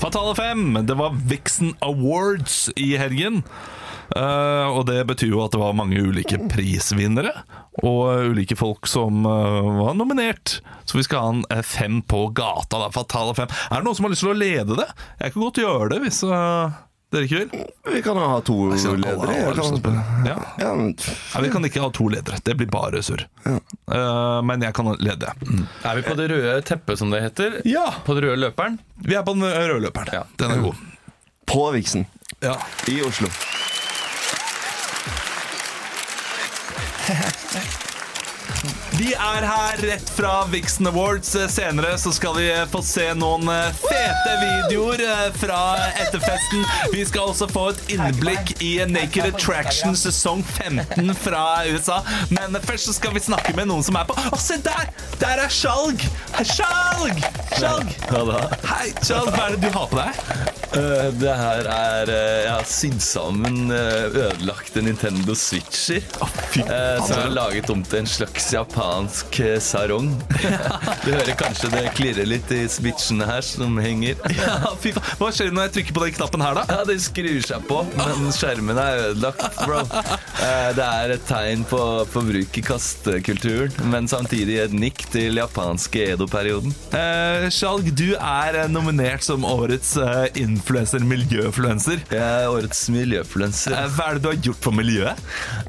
Speaker 1: Fatale 5! Det var Vixen Awards i helgen. Eh, og det betyr jo at det var mange ulike prisvinnere, og ulike folk som eh, var nominert. Så vi skal ha en eh, fem på gata. Da. Fatale fem. Er det noen som har lyst til å lede det? Jeg kan godt gjøre det hvis eh, dere ikke vil.
Speaker 3: Vi kan ha to ledere.
Speaker 1: Alle har lyst til
Speaker 3: jeg
Speaker 1: å
Speaker 3: Kan...
Speaker 1: spille. Ja.
Speaker 3: Ja, men-
Speaker 1: Nei, vi kan ikke ha to ledere. Det blir bare surr. Eh, men jeg kan lede.
Speaker 2: Er vi på det røde teppet, som det heter?
Speaker 1: Ja!
Speaker 2: På den røde løperen?
Speaker 1: Vi er på den røde løperen.
Speaker 2: Ja.
Speaker 1: Den er god.
Speaker 3: På Vixen
Speaker 1: Ja.
Speaker 3: i Oslo.
Speaker 1: Vi er her rett fra Vixen Awards. Eh, Senere så skal vi eh, få se noen eh, fete videoer eh, fra etterfesten. Vi skal også få et innblikk i Naked Attraction sesong 15 fra USA. Men først så skal vi snakke med noen som er på Å, se der! Der er Skjalg! Skjalg! Skjalg!
Speaker 6: Ja da.
Speaker 1: Hei, Skjalg. Hva er det du har på deg?
Speaker 6: Eh, det her er eh, Jeg har sydd sammen eh, ødelagte Nintendo Switcher. eh, som jeg har laget om til en slags japansk eh, sarong. du hører kanskje det klirrer litt i switchene her som henger.
Speaker 1: Ja, fy faen. Hva skjer når jeg trykker på den knappen her, da?
Speaker 6: Ja, de skrur seg på, men skjermen er ødelagt, bro. Eh, Det er et tegn på forbruk i kastekulturen, men samtidig et nikk til japanske Edo-perioden.
Speaker 1: Eh, Skjalg, du er eh, nominert som årets eh, influenser, miljøfluenser.
Speaker 6: Jeg er årets miljøfluenser.
Speaker 1: Eh, Hva er det du har gjort for miljøet?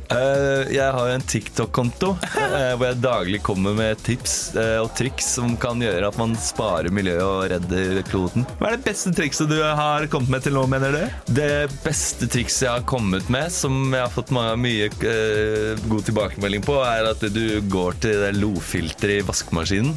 Speaker 6: Eh, Jeg har jo en TikTok-konto eh, hvor jeg daglig kommer med tips eh, og triks som kan gjøre at man sparer miljøet og redder kloden.
Speaker 1: Hva er det beste trikset du har kommet med til nå, mener du?
Speaker 6: Det beste trikset jeg har kommet med, som jeg har fått ma- mye eh, god tilbakemelding på, er at du går til det lofilteret i vaskemaskinen,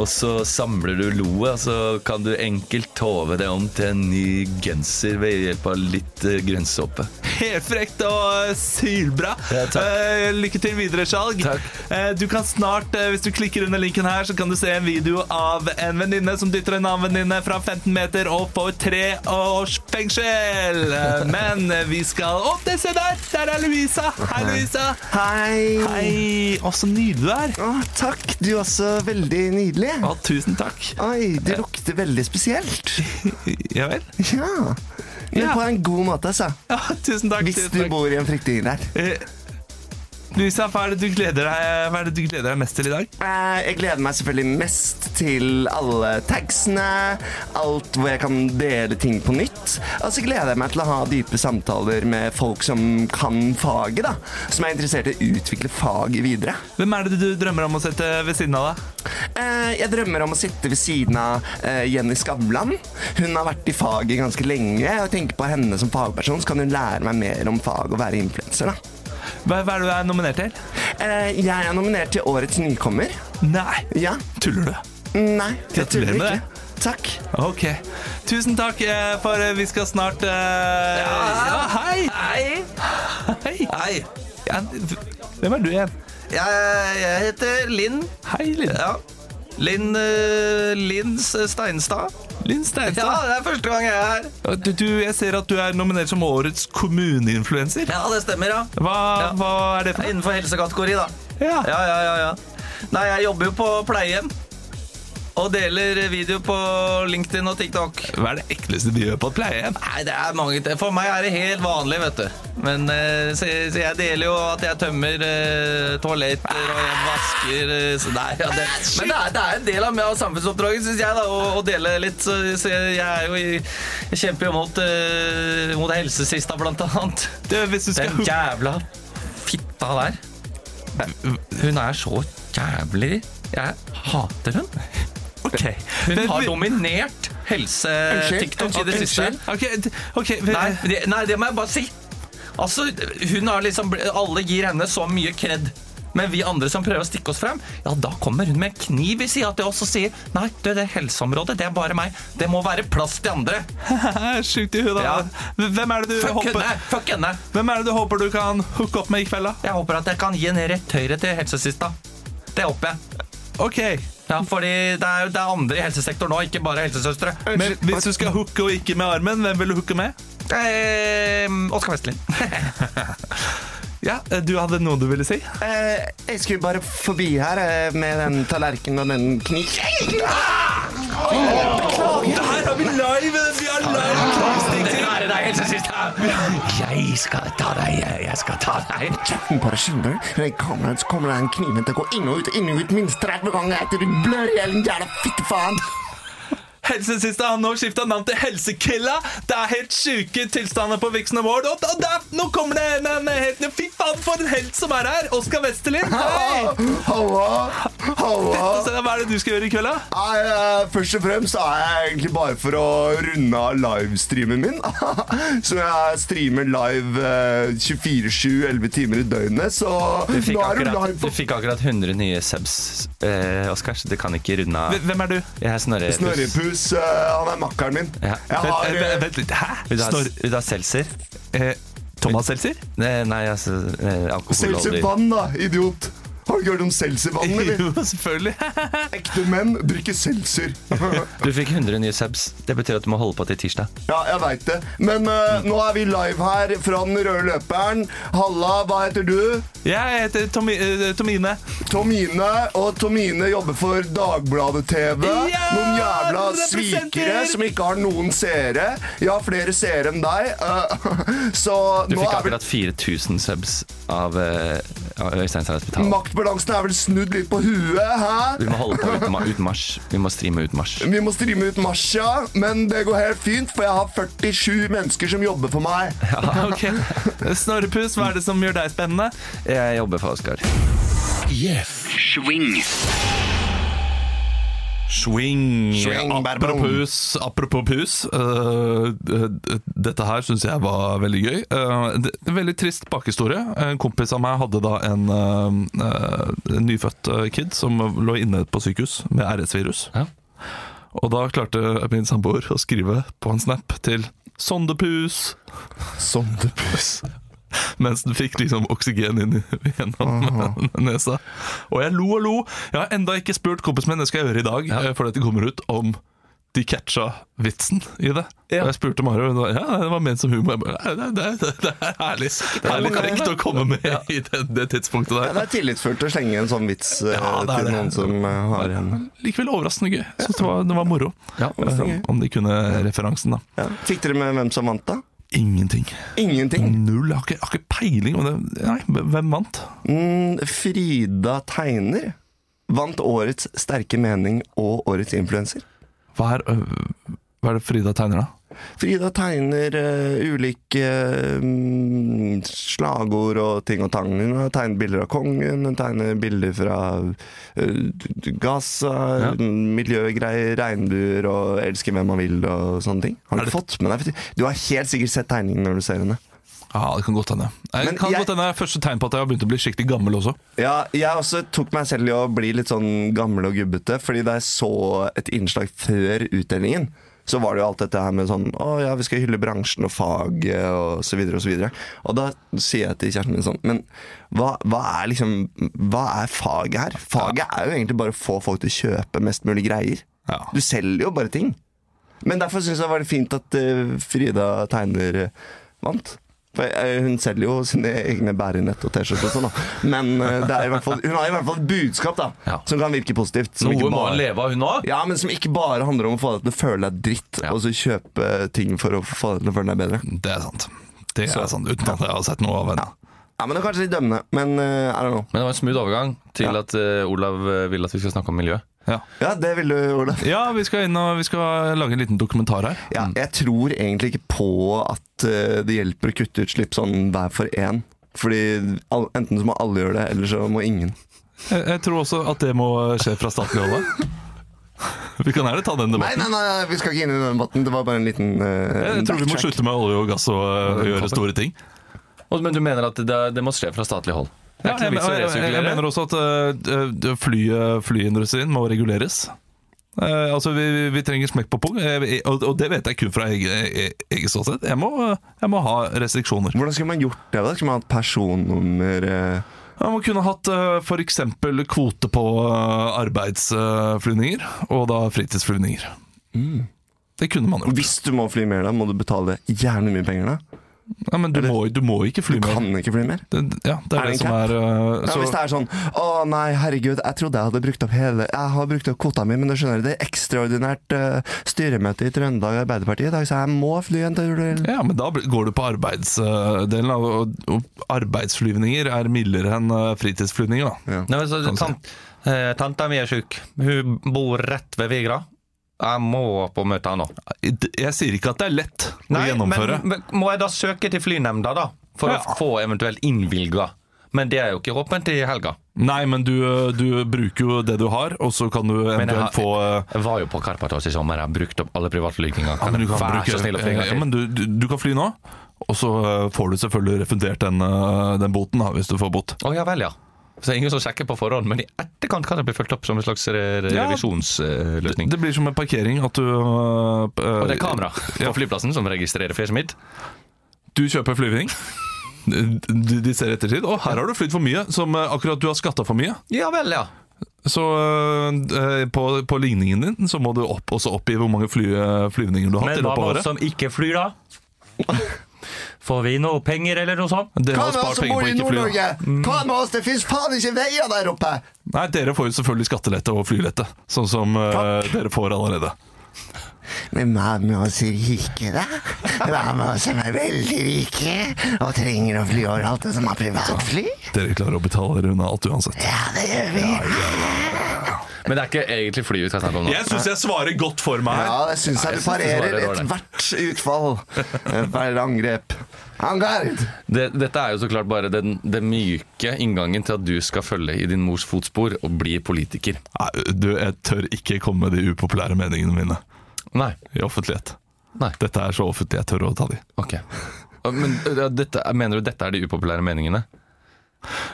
Speaker 6: og så samler du loet, og så kan du enkelt tove det om til en ny genser ved hjelp av litt eh, grønnsåpe.
Speaker 1: Helt frekt og sylbra.
Speaker 6: Ja, takk.
Speaker 1: Eh, lykke til videre, Skjalg.
Speaker 6: Takk.
Speaker 1: Eh, du kan snart, eh, hvis du klikker under linken her, så kan du se en video av en venninne som dytter en annen venninne fra 15 meter og får tre års fengsel. Eh, men eh, vi skal Å, det se der! Der er Louisa. Hei, Louisa.
Speaker 3: Hei!
Speaker 1: Hei. Å, så nydelig du er.
Speaker 3: Å, takk, du er også veldig nydelig.
Speaker 1: Å, tusen takk.
Speaker 3: Oi, du lukter veldig spesielt.
Speaker 1: Ja vel?
Speaker 3: Ja. Men
Speaker 1: Ja.
Speaker 3: på en god måte, altså.
Speaker 1: Ja, tusen takk.
Speaker 3: Hvis
Speaker 1: tusen
Speaker 3: du
Speaker 1: takk.
Speaker 3: bor i en flyktningleir.
Speaker 1: Eh,
Speaker 2: Louisa, hva er, det du gleder deg, hva er det du gleder deg mest til i dag?
Speaker 3: Eh, Jeg gleder meg selvfølgelig mest til alle tagsene, alt hvor jeg kan dele ting på nytt. Og så gleder jeg meg til å ha dype samtaler med folk som kan faget, da. Som er interessert i å utvikle faget videre.
Speaker 2: Hvem er det du drømmer om å sette ved siden av deg?
Speaker 3: Eh, Jeg drømmer om å sitte ved siden av eh, Jenny Skavlan. Hun har vært i faget ganske lenge, og jeg tenker på henne som fagperson, så kan hun lære meg mer om fag og være influenser, da.
Speaker 2: Hva, hva er det du er nominert til?
Speaker 3: Eh, Jeg er nominert til Årets nykommer.
Speaker 2: Nei,
Speaker 3: Ja.
Speaker 2: tuller du?
Speaker 3: Nei, jeg
Speaker 2: Gratulerer
Speaker 3: tuller
Speaker 2: med
Speaker 3: ikke. Takk.
Speaker 2: Ok. Tusen takk, eh, for eh, vi skal snart eh, Ja, hei! Hei! Hei! Ja, hvem er du igjen?
Speaker 8: Jeg, jeg heter Linn.
Speaker 2: Hei, Linn.
Speaker 8: Ja. Linn eh, Linn Steinstad.
Speaker 2: Linn
Speaker 8: Ja,
Speaker 2: Steinstad.
Speaker 8: det er første gang jeg er her.
Speaker 2: Du, du, jeg ser at du er nominert som årets kommuneinfluenser.
Speaker 8: Ja, det stemmer, ja.
Speaker 2: Hva,
Speaker 8: Ja.
Speaker 2: hva er det
Speaker 8: Jeg
Speaker 2: for
Speaker 8: er
Speaker 2: noe?
Speaker 8: innenfor helsekategori, da.
Speaker 2: Ja.
Speaker 8: Ja, ja, ja, ja. Nei, jeg jobber jo på pleiehjem. Og deler video på LinkedIn og TikTok.
Speaker 2: Hva er det ekleste du gjør på et pleiehjem?
Speaker 8: Nei, det er mange te- For meg er det helt vanlig, vet du. Men eh, så, så jeg deler jo at jeg tømmer eh, toaletter og jeg vasker eh, så nei, ja, det,
Speaker 2: Ah,
Speaker 8: Men det er, det er en del av, av samfunnsoppdraget, syns jeg, da, å, å dele litt. Så, så jeg, jeg er jo i Jeg kjemper jo mot, eh, mot helsesista, blant annet.
Speaker 2: Du, hvis du skal
Speaker 8: Den jævla fitta der. Hun er så jævlig Jeg hater hun.
Speaker 2: Ok.
Speaker 8: Hun
Speaker 2: Men-
Speaker 8: har dominert helse-TikTok i det siste.
Speaker 2: Ok, d- ok, vi-
Speaker 8: Nei det, nei, det må jeg bare si. Altså, hun har liksom bl- Alle gir henne så mye kred. Men vi andre som prøver å stikke oss frem, ja, da kommer hun med en kniv i sida til oss og sier Nei, du, det helseområdet, det er bare meg. Det må være plass til andre.
Speaker 2: Sjukt i huet, da.
Speaker 8: Ja.
Speaker 2: Hvem, er det du
Speaker 8: Fuck henne!
Speaker 2: håper,
Speaker 8: Fuck henne!
Speaker 2: hvem er det du håper du kan hooke opp med i kveld, da?
Speaker 8: Jeg håper at jeg kan gi en rett høyre til helsesista. Det håper jeg.
Speaker 2: Ok.
Speaker 8: Ja, fordi det er, det er andre i helsesektoren nå, ikke bare helsesøstre.
Speaker 2: Men hvis du skal hooke og ikke med armen, hvem vil du hooke med?
Speaker 8: Eh, Oskar Vestlin.
Speaker 2: Ja, du hadde noe du ville si?
Speaker 3: Eh, jeg skulle bare forbi her eh, med den tallerkenen og den kniven.
Speaker 2: Det her har vi live! Vi har live knivstikking!
Speaker 9: Jeg skal ta deg, jeg, jeg skal ta deg.
Speaker 3: Kjeften på deg, skjønner du? Når jeg kommer her, så kommer den kniven til å gå inn og ut inn og ut minst 30 ganger etter du blør i hjel, din jævla fittefaen.
Speaker 2: Helsesista har nå skifta navn til Helsekilla. Det er helt sjuke tilstander på Vixen Award. Og da- da- nå kommer det en, en helt Fy faen, for en helt som er her! Oskar Westerlin. Hei!
Speaker 3: Hallo, hallo.
Speaker 2: Så Hva er det du skal gjøre i kveld, da?
Speaker 3: Nei, eh, først og fremst er jeg egentlig bare for å runde av livestreamen min. så jeg streamer live eh, 24-7, 11 timer i døgnet, så
Speaker 10: Du fikk
Speaker 3: nå er du
Speaker 10: akkurat,
Speaker 3: live
Speaker 10: du
Speaker 3: på
Speaker 10: fikk akkurat 100 nye subs, eh, Oskar, så du kan ikke runde av.
Speaker 2: Hvem- Hvem er du?
Speaker 10: Jeg er Snorre. Puss.
Speaker 3: Snorrepus. eh, han er makkeren min.
Speaker 10: Ja.
Speaker 3: Jeg har,
Speaker 2: Eh,
Speaker 3: eh,
Speaker 2: Vent litt. Hæ?
Speaker 10: Vil du ha-
Speaker 2: Snorre
Speaker 10: vil du ha seltzer?
Speaker 2: eh, Thomas Seltzer?
Speaker 10: Nei, nei, altså eh, Alkohol og
Speaker 3: Seltzer
Speaker 10: olje.
Speaker 3: Vann, da, idiot. Har du ikke hørt om Seltzer Vann, eller?
Speaker 2: Jo, selvfølgelig.
Speaker 3: Ekte menn drikker Seltzer.
Speaker 10: Du fikk 100 nye subs. Det betyr at du må holde på til tirsdag.
Speaker 3: ja, jeg veit det. Men eh, nå er vi live her fra den røde løperen. Halla, hva heter du?
Speaker 2: Jeg heter Tomi, eh, Tomine.
Speaker 3: Tomine og Tomine jobber for Dagbladet TV.
Speaker 2: Ja!
Speaker 3: noen jævla
Speaker 2: Representerer!
Speaker 3: svikere som ikke har noen seere. Jeg har flere seere enn deg. eh, så
Speaker 10: Du fikk
Speaker 3: nå er vel
Speaker 10: akkurat 4000 subs av eh, av Øystein Sarnes Betal.
Speaker 3: maktbalansen er vel snudd litt på huet, hæ?
Speaker 10: Vi må holde på ut, ma- ut mars. Vi må streame ut mars.
Speaker 3: Vi må streame ut Masha, men det går helt fint, for jeg har 47 mennesker som jobber for meg.
Speaker 2: Ok. Snorrepus, hva er det som gjør deg spennende?
Speaker 10: Jeg jobber for Oskar.
Speaker 2: Swing.
Speaker 3: Swing,
Speaker 2: apropos, apropos pus. øh, d- d- dette her syns jeg var veldig gøy. Uh, det, det er en veldig trist bakhistorie. En kompis av meg hadde da en øh, øh, nyfødt øh, kid som lå inne på sykehus med RS-virus.
Speaker 10: Ja.
Speaker 2: Og da klarte min samboer å skrive på en snap til Sondepus!
Speaker 3: Sondepus.
Speaker 2: mens den fikk liksom oksygen inn i- gjennom nesa. Og jeg lo og lo. Jeg har enda ikke spurt kompisen min, det skal jeg gjøre i dag, eh, for dette kommer ut, om de catcha vitsen i det. Og jeg spurte Mari, og hun sa ja, det var ment som humor. Jeg bare, "Nei, det, det, det, det er herlig Det er litt frekt å komme med i det, det tidspunktet
Speaker 3: Ja,
Speaker 2: der.
Speaker 3: det er tillitsfullt å slenge en sånn vits eh,
Speaker 2: Ja, det er
Speaker 3: til
Speaker 2: det.
Speaker 3: noen som eh, har en
Speaker 2: Likevel overraskende gøy. Jeg synes det var, det var moro.
Speaker 10: Ja.
Speaker 2: Eh, Om de kunne referansen, da.
Speaker 3: ja. Fikk dere med hvem som vant, da?
Speaker 1: Ingenting.
Speaker 3: Ingenting.
Speaker 1: Null. Jeg har ikke, jeg har ikke peiling. om det. Nei, hvem vant?
Speaker 3: Mm, Frida Tegner vant årets sterke mening og årets influenser.
Speaker 1: Hva er, øh, hva er det Frida tegner, da?
Speaker 3: Frida tegner eh, ulike mm, slagord og ting og tang. Hun har tegnet bilder av kongen, hun tegner bilder fra eh, Gaza, miljøgreier, regnbuer og elsker hvem man vil og sånne ting. Har du ikke fått med deg Du har helt sikkert sett tegningen når du ser henne.
Speaker 1: Ja, Det kan godt hende. Eh, Det
Speaker 3: Men
Speaker 1: kan
Speaker 3: jeg-
Speaker 1: godt hende det er første tegn på at jeg har begynt å bli skikkelig gammel også.
Speaker 3: Ja, jeg også tok meg selv i å bli litt sånn gammel og gubbete, fordi da jeg så et innslag før utdelingen, så var det jo alt dette her med sånn Å ja, vi skal hylle bransjen og faget og så videre og så videre. Og da sier jeg til kjæresten min sånn Men hva, hva er liksom Hva er faget her? Faget er jo egentlig bare å få folk til å kjøpe mest mulig greier.
Speaker 1: Ja.
Speaker 3: Du selger jo bare ting. Men derfor syns jeg det var fint at eh, Frida Tegner eh, vant. For eh, hun selger jo sine egne bærenett og T-skjorter og sånn, da. Men eh, det er i hvert fall, hun har i hvert fall et budskap da
Speaker 2: Ja.
Speaker 3: som kan virke positivt. Som
Speaker 2: Noe
Speaker 3: ikke
Speaker 2: må
Speaker 3: bare-
Speaker 2: han leve av, hun òg.
Speaker 3: ja, men som ikke bare handler om å få deg til å føle deg dritt, og så kjøpe ting for å få deg til å føle deg bedre.
Speaker 1: Det er sant. Det er sant, Uten at jeg har sett noe av henne.
Speaker 3: Ja, men det er kanskje litt dømmende, men eh, I don't know.
Speaker 2: Men det var en smooth overgang til at eh, Olav eh, ville at vi skulle snakke om miljø.
Speaker 3: Ja, det ville du, Olav.
Speaker 1: Ja, vi skal inn og vi skal lage en liten dokumentar her. Mm.
Speaker 3: Ja, jeg tror egentlig ikke på at eh, det hjelper å kutte utslipp sånn hver for én. Fordi all, enten så må alle gjøre det, eller så må ingen.
Speaker 1: Jeg, jeg tror også at det må skje fra statlig hold. da. Vi kan gjerne ta den
Speaker 3: Nei,
Speaker 1: debatten.
Speaker 3: nei, nei, nei, vi skal ikke inn i den debatten. Det var bare en liten eh,
Speaker 1: Jeg tror vi må
Speaker 3: backtrack.
Speaker 1: slutte med olje og gass og øh, gjøre store ting.
Speaker 2: Og, men du mener at det, det må skje fra statlig hold? Det
Speaker 1: Ja,
Speaker 2: er
Speaker 1: jeg,
Speaker 2: ikke noe vits å
Speaker 1: jeg, jeg, jeg
Speaker 2: resirkulere.
Speaker 1: mener også at øh, øh, flyet, flyindustrien må reguleres. Eh, altså Vi, vi- vi trenger smekk på pung, eh, og, og det vet jeg kun fra eget eget- eget ståsted. Jeg må, øh, jeg må ha restriksjoner.
Speaker 3: Hvordan skulle man gjort det? da? Skulle man hatt personnummer eh?
Speaker 1: Ja, Man kunne hatt f.eks. kvote på eh, arbeidsflyvninger, og da fritidsflyvninger. Det kunne man gjort.
Speaker 3: Hvis du må fly mer, da må du betale gjerne mye penger. da
Speaker 1: Ja, men du må, du må ikke fly mer.
Speaker 3: Kan ikke fly mer?
Speaker 1: Det, ja, det
Speaker 3: Er
Speaker 1: er
Speaker 3: det
Speaker 1: det
Speaker 3: en
Speaker 1: som
Speaker 3: cap?
Speaker 1: er eh,
Speaker 3: Ja,
Speaker 1: så,
Speaker 3: hvis det er sånn Å nei, herregud, jeg trodde jeg hadde brukt opp hele Jeg har brukt opp kvota mi, men du skjønner, det er ekstraordinært eh, styremøte i Trøndelag Arbeiderparti i dag, så jeg må fly en tur til.
Speaker 1: Ja, men da blir- går du på arbeidsdelen, av, og, og arbeidsflyvninger er mildere enn eh, fritidsflyvninger, da.
Speaker 2: Nei, men så, tant, eh, tanta mi er sjuk. Hun bor rett ved Vigra. Jeg må på møte henne.
Speaker 1: Jeg sier ikke at det er lett å gjennomføre.
Speaker 2: Men, men må jeg da søke til flynemnda, da? For
Speaker 1: Ja.
Speaker 2: å få eventuelt innvilga. Men det er jo ikke åpent i helga.
Speaker 1: Nei, men du, eh, du bruker jo det du har, og så kan du
Speaker 2: jeg
Speaker 1: eventuelt
Speaker 2: har-
Speaker 1: få eh,
Speaker 2: Jeg var jo på Karpatos i sommer. Jeg brukte opp alle privatflygninger.
Speaker 1: Ja, men du kan
Speaker 2: Vær
Speaker 1: bruke, eh,
Speaker 2: så snill å fly en gang
Speaker 1: ja,
Speaker 2: til.
Speaker 1: men du, du, du kan fly nå, og så eh, får du selvfølgelig refundert den, eh, den boten da, hvis du får bot.
Speaker 2: Å ja vel, ja. Så det er ingen som sjekker på forhånd, men i etterkant kan det bli fulgt opp som en slags re
Speaker 1: Ja.
Speaker 2: revisjonsløsning.
Speaker 1: Det blir som en parkering at du eh, eh,
Speaker 2: Og det er kamera på flyplassen som registrerer fjeset mitt.
Speaker 1: Du kjøper flyvning. De, de ser etter tid. Å, her har du flydd for mye, som eh, akkurat du har skatta for mye.
Speaker 2: Ja vel, ja.
Speaker 1: Så eh, på, på ligningen din så må du opp, også oppgi hvor mange fly, eh, flyvninger du har hatt
Speaker 7: Men
Speaker 1: i løpet
Speaker 7: hva
Speaker 1: av
Speaker 7: med oss
Speaker 1: året.
Speaker 7: som ikke flyr, da? Får vi noe penger eller noe sånt?
Speaker 1: Dere har spart penger på å ikke fly. da.
Speaker 3: Hva med oss? Det fins faen ikke veier der oppe!
Speaker 1: Nei, dere får jo selvfølgelig skattelette og flylette, sånn som eh, dere får allerede.
Speaker 11: Men hva med oss rike, da? Hva med oss som er veldig rike og trenger å fly overalt, og som har privatfly?
Speaker 1: Dere klarer å betale dere unna alt uansett.
Speaker 11: Ja, det gjør vi.
Speaker 2: Men det er ikke egentlig fly vi skal snakke om nå.
Speaker 1: Jeg syns jeg svarer godt for meg.
Speaker 3: Ja, det syns jeg du
Speaker 2: det
Speaker 3: parerer
Speaker 2: var det.
Speaker 3: ethvert utfall. Ethvert angrep. Angard!
Speaker 2: Det, dette er jo så klart bare den, den myke inngangen til at du skal følge i din mors fotspor og bli politiker.
Speaker 1: Nei, du, jeg tør ikke komme med de upopulære meningene mine
Speaker 2: Nei.
Speaker 1: i offentlighet.
Speaker 2: Nei.
Speaker 1: Dette er så offentlig jeg tør å ta de.
Speaker 2: Ok. Men ja, dette, mener du dette er de upopulære meningene?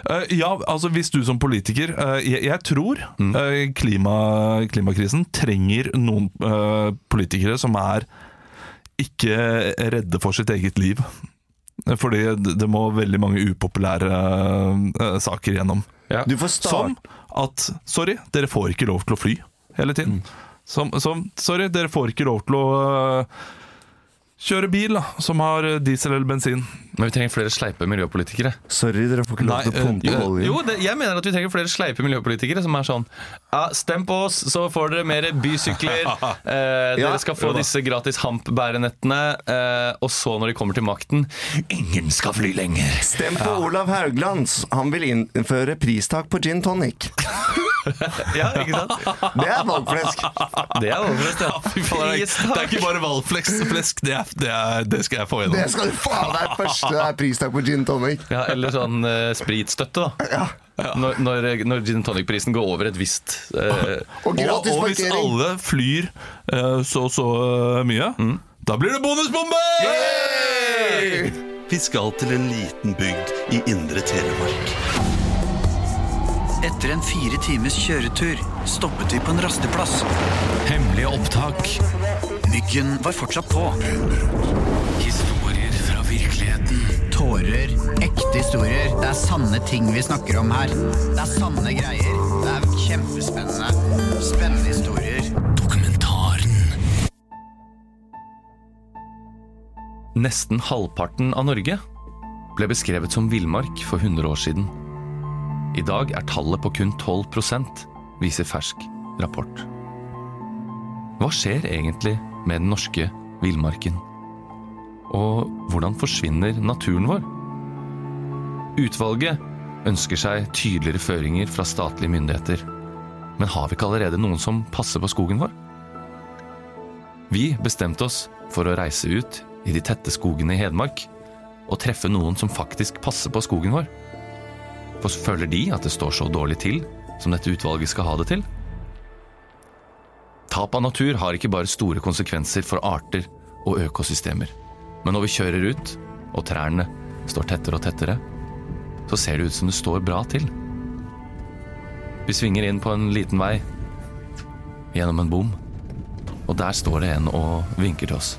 Speaker 1: Eh, ja, altså hvis du som politiker eh, jeg, jeg tror eh, klima, klimakrisen trenger noen eh, politikere som er ikke redde for sitt eget liv. Fordi det det må veldig mange upopulære eh, saker gjennom.
Speaker 3: Du får start...
Speaker 1: Som at Sorry, dere får ikke lov Mm. til å fly hele tiden. Som, som Sorry, dere får ikke lov til å øh, eh, kjøre bil da, som har eh, diesel eller bensin.
Speaker 2: Men vi trenger flere sleipe miljøpolitikere.
Speaker 3: Sorry, dere får ikke lov til å
Speaker 2: Nei,
Speaker 3: pumpe
Speaker 2: eh,
Speaker 3: oljen.
Speaker 2: Jo, det, jeg mener at vi trenger flere sleipe miljøpolitikere som er sånn ja, Stem på oss, så får dere mer bysykler. Eh,
Speaker 3: Ja,
Speaker 2: dere skal få
Speaker 3: jo da.
Speaker 2: disse gratis hampbærenettene. Eh, og så, når de kommer til makten Ingen skal fly lenger!
Speaker 3: Stem på Olav Haugland. Han vil innføre pristak på gin tonic.
Speaker 2: Ja, ikke sant?
Speaker 3: Det er valgflesk.
Speaker 2: Det er overflest, ja.
Speaker 1: Fy faen, det, er, det er ikke bare valgflesk, flesk, det, er, det, er, det skal jeg få
Speaker 3: Det
Speaker 1: gjennom.
Speaker 3: skal du faen meg første det er pristak på gin tonic.
Speaker 2: Ja, eller sånn eh, spritstøtte, da. Når, når, når gin and tonic-prisen går over et visst eh,
Speaker 3: Og
Speaker 1: Og,
Speaker 3: gratis
Speaker 1: og hvis
Speaker 3: parkering.
Speaker 1: alle flyr eh, så så eh, mye,
Speaker 2: Mm.
Speaker 1: da blir det bonusbombe!
Speaker 12: Vi skal til en liten bygd i indre Telemark. Etter en fire times kjøretur stoppet vi på en rasteplass. Hemmelige opptak. Myggen var fortsatt på.
Speaker 13: Historier fra virkeligheten. Tårer. Ekte historier. Det er sanne ting vi snakker om her. Det er sanne greier. Det er kjempespennende. Spennende historier. Dokumentaren.
Speaker 2: Nesten halvparten av Norge ble beskrevet som villmark for 100 år siden. I dag er tallet på kun 12 viser fersk rapport. Hva skjer egentlig med den norske villmarken? Og hvordan forsvinner naturen vår? Utvalget ønsker seg tydeligere føringer fra statlige myndigheter. Men har vi ikke allerede noen som passer på skogen vår? Vi bestemte oss for å reise ut i de tette skogene i Hedmark og treffe noen som faktisk passer på skogen vår. For føler de at det står så dårlig til som dette utvalget skal ha det til? Tap av natur har ikke bare store konsekvenser for arter og økosystemer. Men når vi kjører ut, og trærne står tettere og tettere, så ser det ut som det står bra til. Vi svinger inn på en liten vei gjennom en bom. Og der står det en og vinker til oss.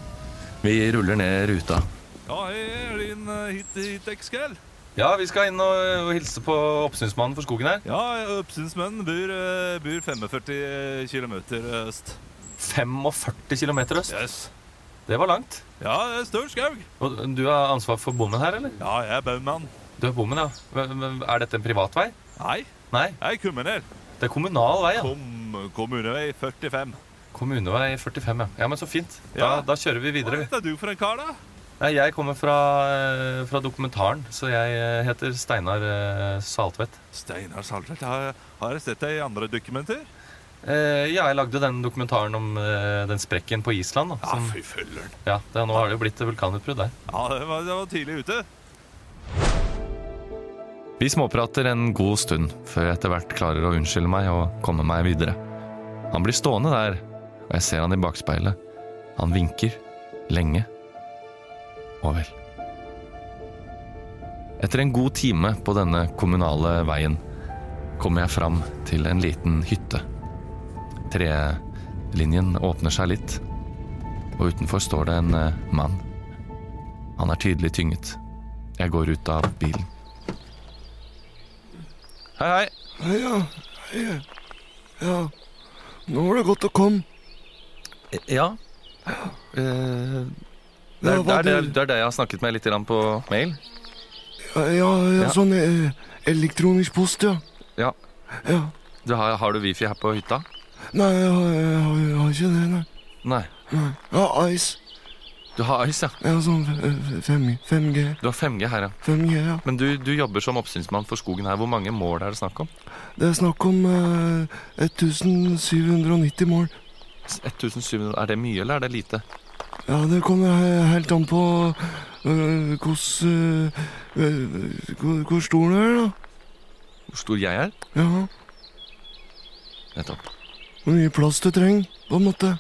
Speaker 2: Vi ruller ned ruta.
Speaker 1: Ja, hei, er det inn eh, hit, hit Ekskjell?
Speaker 2: Ja, vi skal inn og, og hilse på oppsynsmannen for skogen her.
Speaker 1: Ja, oppsynsmannen bor, eh, bor 45 km øst.
Speaker 2: 45 km øst.
Speaker 1: Yes.
Speaker 2: Det var langt.
Speaker 1: Ja, det er stor skog.
Speaker 2: Og du har ansvar for bommen her, eller?
Speaker 1: Ja, jeg er baumann.
Speaker 2: Du er bommen, ja. Men- men Er dette en privat vei?
Speaker 1: Nei,
Speaker 2: Nei,
Speaker 1: jeg er kommuner.
Speaker 2: det er kommunal vei, ja.
Speaker 1: Kom, kommunevei 45.
Speaker 2: Kommunevei 45, ja. Ja, men så fint. Da,
Speaker 1: Ja.
Speaker 2: da kjører vi videre.
Speaker 1: Hva
Speaker 2: vi.
Speaker 1: heter du for en kar, da?
Speaker 2: Nei, jeg kommer fra, eh, fra dokumentaren, så jeg eh, heter Steinar eh, Saltvedt.
Speaker 1: Steinar Saltvedt. Har, har jeg sett deg i andre dokumenter?
Speaker 2: Eh, ja, jeg lagde den dokumentaren om eh, den sprekken på Island. Da, som,
Speaker 1: fy følger'n.
Speaker 2: ja, det, nå har det jo blitt vulkanutbrudd der.
Speaker 1: Ja, det var, det var tidlig ute.
Speaker 2: Vi småprater en god stund før jeg etter hvert klarer å unnskylde meg og komme meg videre. Han blir stående der, og jeg ser han i bakspeilet. Han vinker. Lenge. Og vel. Etter en god time på denne kommunale veien kommer jeg fram til en liten hytte. Trelinjen åpner seg litt, og utenfor står det en eh, mann. Han er tydelig tynget. Jeg går ut av bilen. Hei, hei.
Speaker 3: Ja, ja. ja. Nå var det godt å komme.
Speaker 2: Ja. Eh, det, er, det,
Speaker 3: hva
Speaker 2: er det,
Speaker 3: du-
Speaker 2: det er det jeg har snakket med litt grann på mail.
Speaker 3: Ja, ja, ja
Speaker 2: Ja.
Speaker 3: sånn eh, elektronisk post, ja.
Speaker 2: Ja.
Speaker 3: ja.
Speaker 2: Du har, har du wifi her på hytta?
Speaker 3: Nei, jeg har, jeg har, jeg har ikke det, nei.
Speaker 2: Nei.
Speaker 3: nei. Jeg har Ice.
Speaker 2: Du har ice, ja.
Speaker 3: Jeg har sånn eh, 5G. 5G,
Speaker 2: Du har 5G her, ja.
Speaker 3: 5G ja.
Speaker 2: Men du, du jobber som oppsynsmann for skogen her. Hvor mange mål er det snakk om?
Speaker 3: Det er snakk om eh, 1790 mål.
Speaker 2: 1700. Er det mye, eller er det lite?
Speaker 3: Ja, det kommer he- helt an på eh, hvordan eh, eh, hvor- Hvor stor den er, da.
Speaker 2: Hvor stor jeg er?
Speaker 3: Ja.
Speaker 2: Nettopp.
Speaker 3: Hvor mye plass du trenger, på en måte.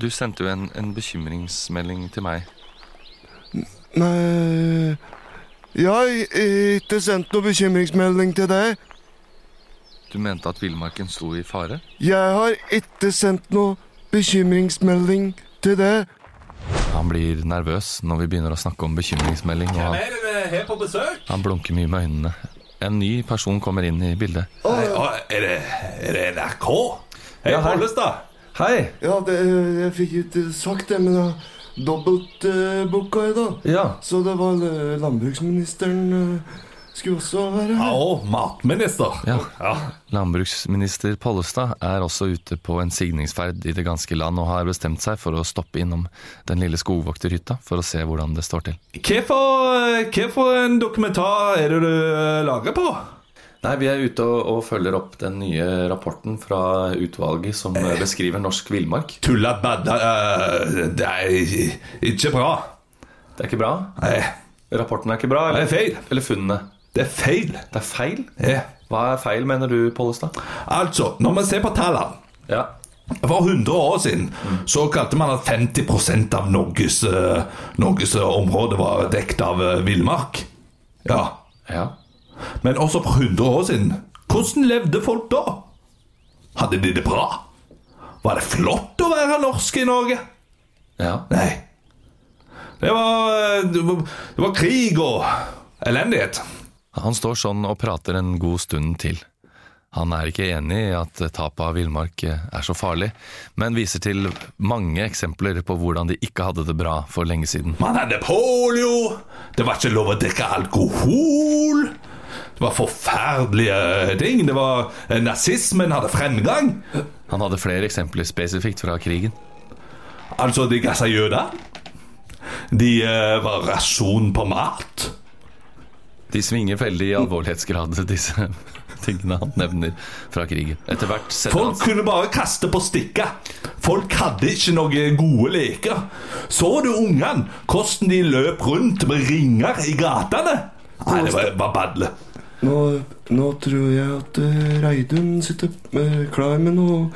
Speaker 2: Du sendte jo en, en bekymringsmelding til meg.
Speaker 3: Nei Jeg har i- ikke sendt noen bekymringsmelding til deg.
Speaker 2: Du mente at villmarken sto i fare?
Speaker 3: Jeg har ikke sendt noen bekymringsmelding til deg.
Speaker 2: Han blir nervøs når vi begynner å snakke om bekymringsmelding. Og han,
Speaker 1: er det her på besøk?
Speaker 2: han blunker mye med øynene. En ny person kommer inn i bildet.
Speaker 1: er, det, er det NRK?
Speaker 2: Ja, hei.
Speaker 1: Pollestad.
Speaker 2: Hei!
Speaker 3: Ja, det, jeg fikk ikke sagt det, men jeg, dobbelt eh, booka i dag.
Speaker 1: Ja.
Speaker 3: Så det var eh, landbruksministeren eh, skulle også være her.
Speaker 1: matminister.
Speaker 2: Ja. Landbruksminister Pollestad er også ute på en signingsferd i det ganske land og har bestemt seg for å stoppe innom den lille skogvokterhytta for å se hvordan det står til.
Speaker 1: Hvorfor hvorfor en dokumentar er det du eh, lager på?
Speaker 2: Nei, Vi er ute og, og følger opp den nye rapporten fra utvalget som eh, beskriver norsk villmark.
Speaker 1: Tulla badda eh, Det er ikke bra.
Speaker 2: Det er ikke bra? Nei. Rapporten er ikke bra?
Speaker 1: Det
Speaker 2: Eller,
Speaker 1: er feil.
Speaker 2: Eller funnene?
Speaker 1: Det er feil.
Speaker 2: Det er feil?
Speaker 1: Ja.
Speaker 2: Hva er feil, mener du, Pollestad?
Speaker 1: Altså, når man ser på tallene
Speaker 2: Ja.
Speaker 1: For 100 år siden så kalte man at 50 av Norges, eh, Norges område var dekt av eh, villmark. Ja. Men også for 100 år siden Hvordan levde folk da? Hadde de det bra? Var det flott å være norsk i Norge?
Speaker 2: Ja.
Speaker 1: Nei. Det var, eh, det var, det var krig og elendighet.
Speaker 2: Han står sånn og prater en god stund til. Han er ikke enig i at tapet av villmark eh, er så farlig, men viser til mange eksempler på hvordan de ikke hadde det bra for lenge siden.
Speaker 1: Man hadde polio. Det var ikke lov å drikke alkohol. Det var forferdelige ting. Det var eh, Nazismen hadde fremgang.
Speaker 2: Han hadde flere eksempler spesifikt fra krigen.
Speaker 1: Altså, de gassa jøder. De eh, var rasjon på mat.
Speaker 2: De svinger veldig i alvorlighetsgrad, disse tingene han nevner fra krigen. Etter hvert sender han
Speaker 1: Folk kunne bare kaste på stikka. Folk hadde ikke noen gode leker. Så du ungene hvordan de løp rundt med ringer i gatene? Nei, det var, var badle.
Speaker 3: Nå, nå tror jeg at eh, Reidun sitter eh, klar med noe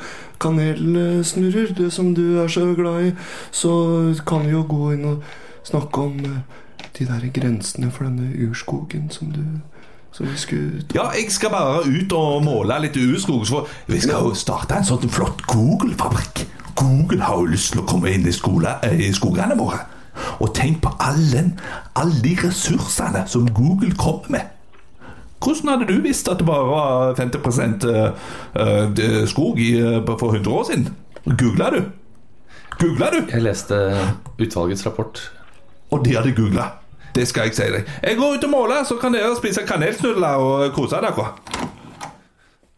Speaker 3: kanelsnurrer. Det som du er så glad i. Så kan vi jo gå inn og snakke om eh, de der grensene for denne urskogen som du som vi skulle
Speaker 1: Ja, jeg skal bare ut og måle litt urskog. Så vi skal jo starte en sånn flott Google-fabrikk. Google har jo lyst til å komme inn i, skole, eh, i skogene våre. Og tenk på all den, alle de ressursene som Google kommer med. Hvordan hadde du visst at det bare var 50 eh, eh, d- skog i, eh, for 100 år siden? Googla du? Googla du?
Speaker 2: Jeg leste utvalgets rapport.
Speaker 1: Og de hadde googla. Det skal jeg si deg. Jeg går ut og måler, så kan dere spise kanelsnudler og kose dere.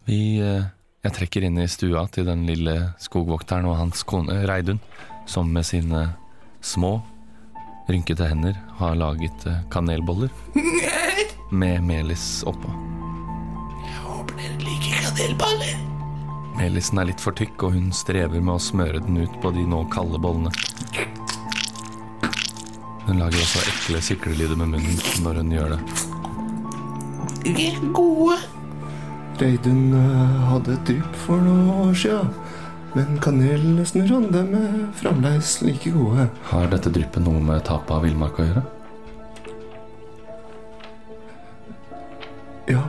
Speaker 2: Vi, eh, jeg trekker inn i stua til den lille skogvokteren og hans kone Reidun, som med sine små, rynkete hender har laget eh, kanelboller med melis oppå.
Speaker 1: Liker kanelboller.
Speaker 2: Melisen er litt for tykk, og hun strever med å smøre den ut på de nå kalde bollene. Hun lager også ekle syklelyder med munnen når hun gjør det.
Speaker 3: De er gode. Reidun eh, hadde et drypp for noen år sia. Men kanelsnurrene, dem er fremdeles like gode.
Speaker 2: Har dette dryppet noe med tapet av villmark å gjøre?
Speaker 3: Ja.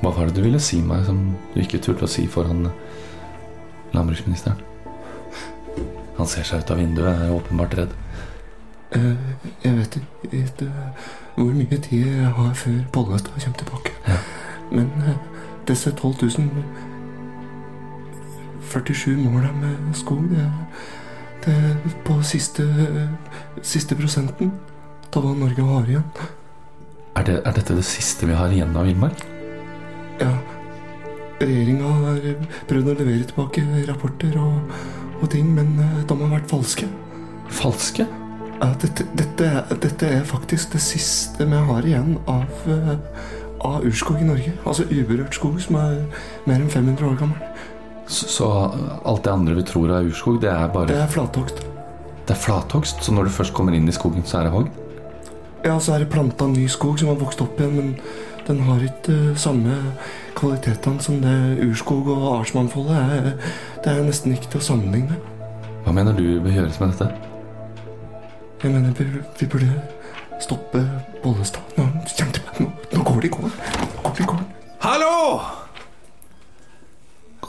Speaker 2: Hva var det du ville si meg som du ikke turte å si foran landbruksministeren? Han ser seg ut av vinduet, er åpenbart redd.
Speaker 3: Eh, Jeg vet ikke hvor mye tid jeg har før Pollestad kommer tilbake. Men eh, disse 12 000 47 måla med skog, det er, det er på siste, siste prosenten av hva Norge har igjen.
Speaker 2: Er, det, er dette det siste vi har igjen av villmark?
Speaker 3: Ja, regjeringa har prøvd å levere tilbake rapporter og, og ting, men eh, de har vært falske.
Speaker 2: Falske?
Speaker 3: Ja, dette, dette, er- dette er faktisk det siste vi har igjen av, eh, av urskog i Norge. Altså uberørt skog som er mer enn 500 år gammel.
Speaker 2: Så, så alt det andre vi tror er urskog, det er bare
Speaker 3: Det er flathogst.
Speaker 2: Det er flathogst, så når du først kommer inn i skogen, så er det hogd?
Speaker 3: Ja, så er det planta ny skog som har vokst opp igjen, men den har ikke eh, samme kvalitetene som det urskog og artsmangfoldet er. Det er nesten ikke til å sammenligne.
Speaker 2: Hva mener du bør gjøres med dette?
Speaker 3: Jeg mener, vi, vi burde stoppe Bollestad. Nå, kjenn til meg. nå, nå går det i går. Nå går det i går.
Speaker 1: Hallo!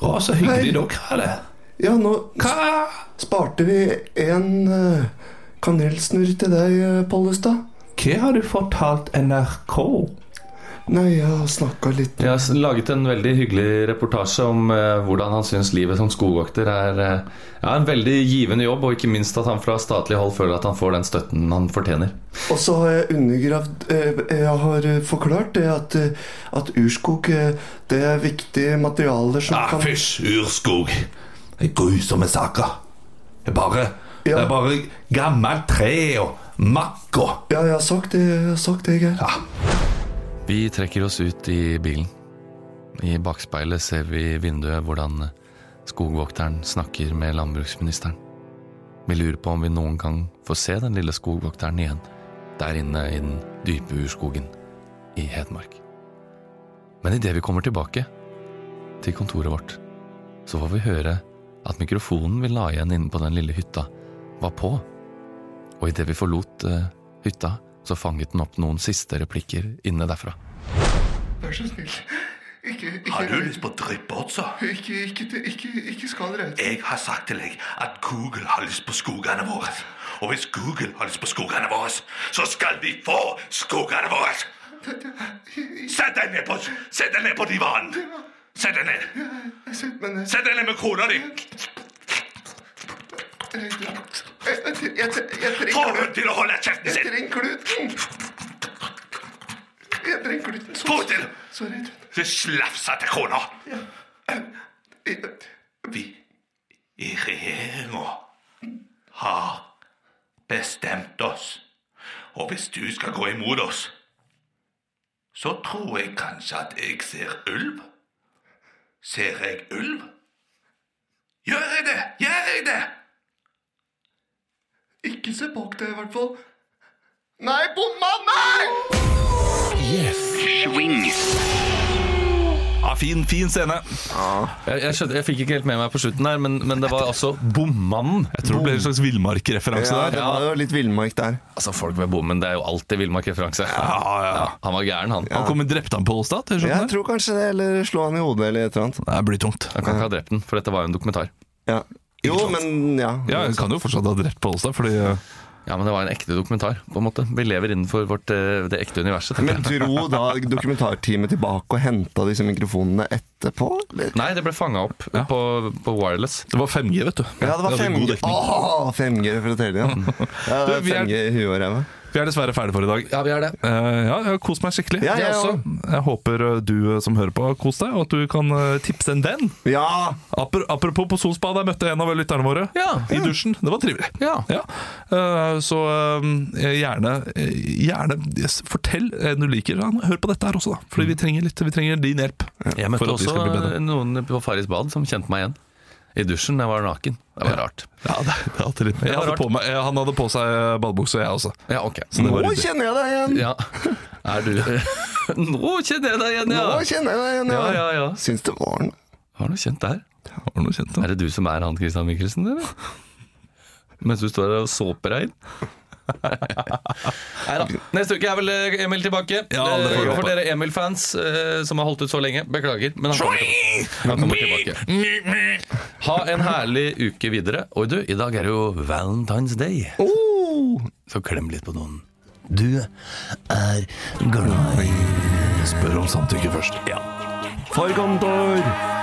Speaker 1: Å, så hyggelig dere har det.
Speaker 3: Ja, nå
Speaker 1: s-
Speaker 3: sparte vi en eh, kanelsnurr til deg, eh, Pollestad.
Speaker 1: Hva har du fortalt NRK?
Speaker 14: Nei, jeg har snakka litt
Speaker 2: Jeg har s- laget en veldig hyggelig reportasje om eh, hvordan han syns livet som skogvokter er eh, ja, en veldig givende jobb, og ikke minst at han fra statlig hold føler at han får den støtten han fortjener.
Speaker 14: Og så har jeg undergravd eh, Jeg har eh, forklart det at, eh, at urskog eh, det er viktige materialer som
Speaker 1: Ah,
Speaker 14: kan
Speaker 1: fysj, urskog. Det er grusomme saker. Det er bare, det er bare gammelt tre og makk og
Speaker 14: Ja, jeg har sagt det, jeg har sagt det, Geir.
Speaker 2: Vi trekker oss ut i bilen. I bakspeilet ser vi i vinduet hvordan skogvokteren snakker med landbruksministeren. Vi lurer på om vi noen gang får se den lille skogvokteren igjen der inne i den dype urskogen i Hedmark. Men idet vi kommer tilbake til kontoret vårt, så får vi høre at mikrofonen vi la igjen inne på den lille hytta, var på. Og idet vi forlot eh, hytta, så fanget den opp noen siste replikker inne derfra.
Speaker 14: Vær så snill. Ikke, ikke
Speaker 15: Har du lyst på dryppodder?
Speaker 14: Ikke, ikke, ikke, ikke skal dere
Speaker 15: Jeg har sagt til deg at Google har lyst på skogene våre. Og hvis Google har lyst på skogene våre, så skal de få skogene våre! Sett deg ned på, sett deg ned på divanen! Sett deg ned. Sett deg ned med kona di! Få henne til å holde kjeften sin!
Speaker 14: Jeg trenger kluten! Jeg trenger kluten.
Speaker 15: Få henne til
Speaker 14: Sorry.
Speaker 15: å slafse til kona! Vi i regjeringa har bestemt oss. Og hvis du skal gå imot oss, så tror jeg kanskje at jeg ser ulv. Ser jeg ulv? Gjør jeg det? Gjør jeg det?
Speaker 14: Ikke se bak deg, i hvert fall. Nei, bomma! Nei!
Speaker 2: Sving! Ja, Ah, fin, fin scene. Jeg, jeg, skjønte, jeg fikk ikke helt med meg på slutten her, men, men det var altså Bommannen. Jeg
Speaker 1: tror det ble en slags villmarkreferanse
Speaker 2: Ja,
Speaker 1: der.
Speaker 2: det var
Speaker 1: jo
Speaker 3: litt villmark der.
Speaker 2: Altså, folk med bommen, det er jo alltid villmarkreferanse. Ja, han var gæren, han.
Speaker 1: Han kom og drepte han på Ålstad?
Speaker 2: Jeg
Speaker 3: Jeg tror kanskje det, eller slå han i hodet eller et eller annet.
Speaker 1: Det blir tungt.
Speaker 2: Han kan ikke ha drept den, for dette var jo en dokumentar.
Speaker 3: Ja. Jo, men ja.
Speaker 2: Ja, jeg kan jo fortsatt ha drept på Ålstad, fordi
Speaker 1: eh,
Speaker 2: Ja, men det var en ekte dokumentar, på en måte. Vi lever innenfor vårt, eh, det ekte universet. tenker
Speaker 3: Men
Speaker 2: jeg.
Speaker 3: dro da dokumentarteamet tilbake og henta disse mikrofonene etterpå? Eller?
Speaker 2: Nei, det ble fanga opp på, på wireless.
Speaker 1: Det var 5G, vet du.
Speaker 3: Ja, det var 5G. Åh, 5G fra Telia. Ja, det
Speaker 1: Du,
Speaker 3: er
Speaker 1: vi er-
Speaker 3: 5G i huet og ræva.
Speaker 1: Vi er dessverre ferdige for i dag. Eh,
Speaker 2: Ja, vi er det.
Speaker 1: ja, jeg har kost meg skikkelig.
Speaker 3: Ja,
Speaker 1: jeg,
Speaker 3: jeg
Speaker 1: også. jeg håper eh, du eh, som hører på, har kost deg, og at du kan eh, tipse en venn.
Speaker 3: Ja!
Speaker 1: Apro apropos på Solspa, der møtte jeg en av lytterne våre i dusjen. Det var trivelig. Ja. Eh, så eh, gjerne, eh, gjerne yes, fortell en du liker. Ja, hør på dette her også, da. Fordi vi trenger, litt, vi trenger din hjelp.
Speaker 2: Jeg møtte
Speaker 1: for at vi skal bli bedre.
Speaker 2: også noen på Farris bad som kjente meg igjen. I dusjen. Jeg var naken. Det var rart.
Speaker 1: Ja, det, det er alltid litt jeg
Speaker 2: var
Speaker 1: hadde
Speaker 2: rart.
Speaker 1: på meg, jeg, Han hadde på seg badebukse, og jeg også.
Speaker 2: Ja, ok
Speaker 1: Så det var
Speaker 3: Nå
Speaker 1: ryddig.
Speaker 3: kjenner jeg deg igjen!
Speaker 2: Ja. Er du Nå kjenner jeg deg igjen, ja!
Speaker 3: Nå kjenner jeg deg igjen,
Speaker 2: ja. ja, ja.
Speaker 3: Syns det var noe.
Speaker 2: Har noe kjent der. Er det du som er han Christian Michelsen, eller? Mens du står der og såper deg inn? Nei da. Neste uke er vel eh, Emil tilbake.
Speaker 1: Ja, det får vi
Speaker 2: Eh,
Speaker 1: håpe.
Speaker 2: for dere Emil-fans eh, som har holdt ut så lenge, beklager. Men han kommer tilbake. Han kommer tilbake. Ha en herlig uke videre. Og du, i dag er det jo Valentine's Day. Oh! Så klem litt på noen.
Speaker 15: Du er glad i
Speaker 1: Spør om samtykke først. Ja. Forkontor!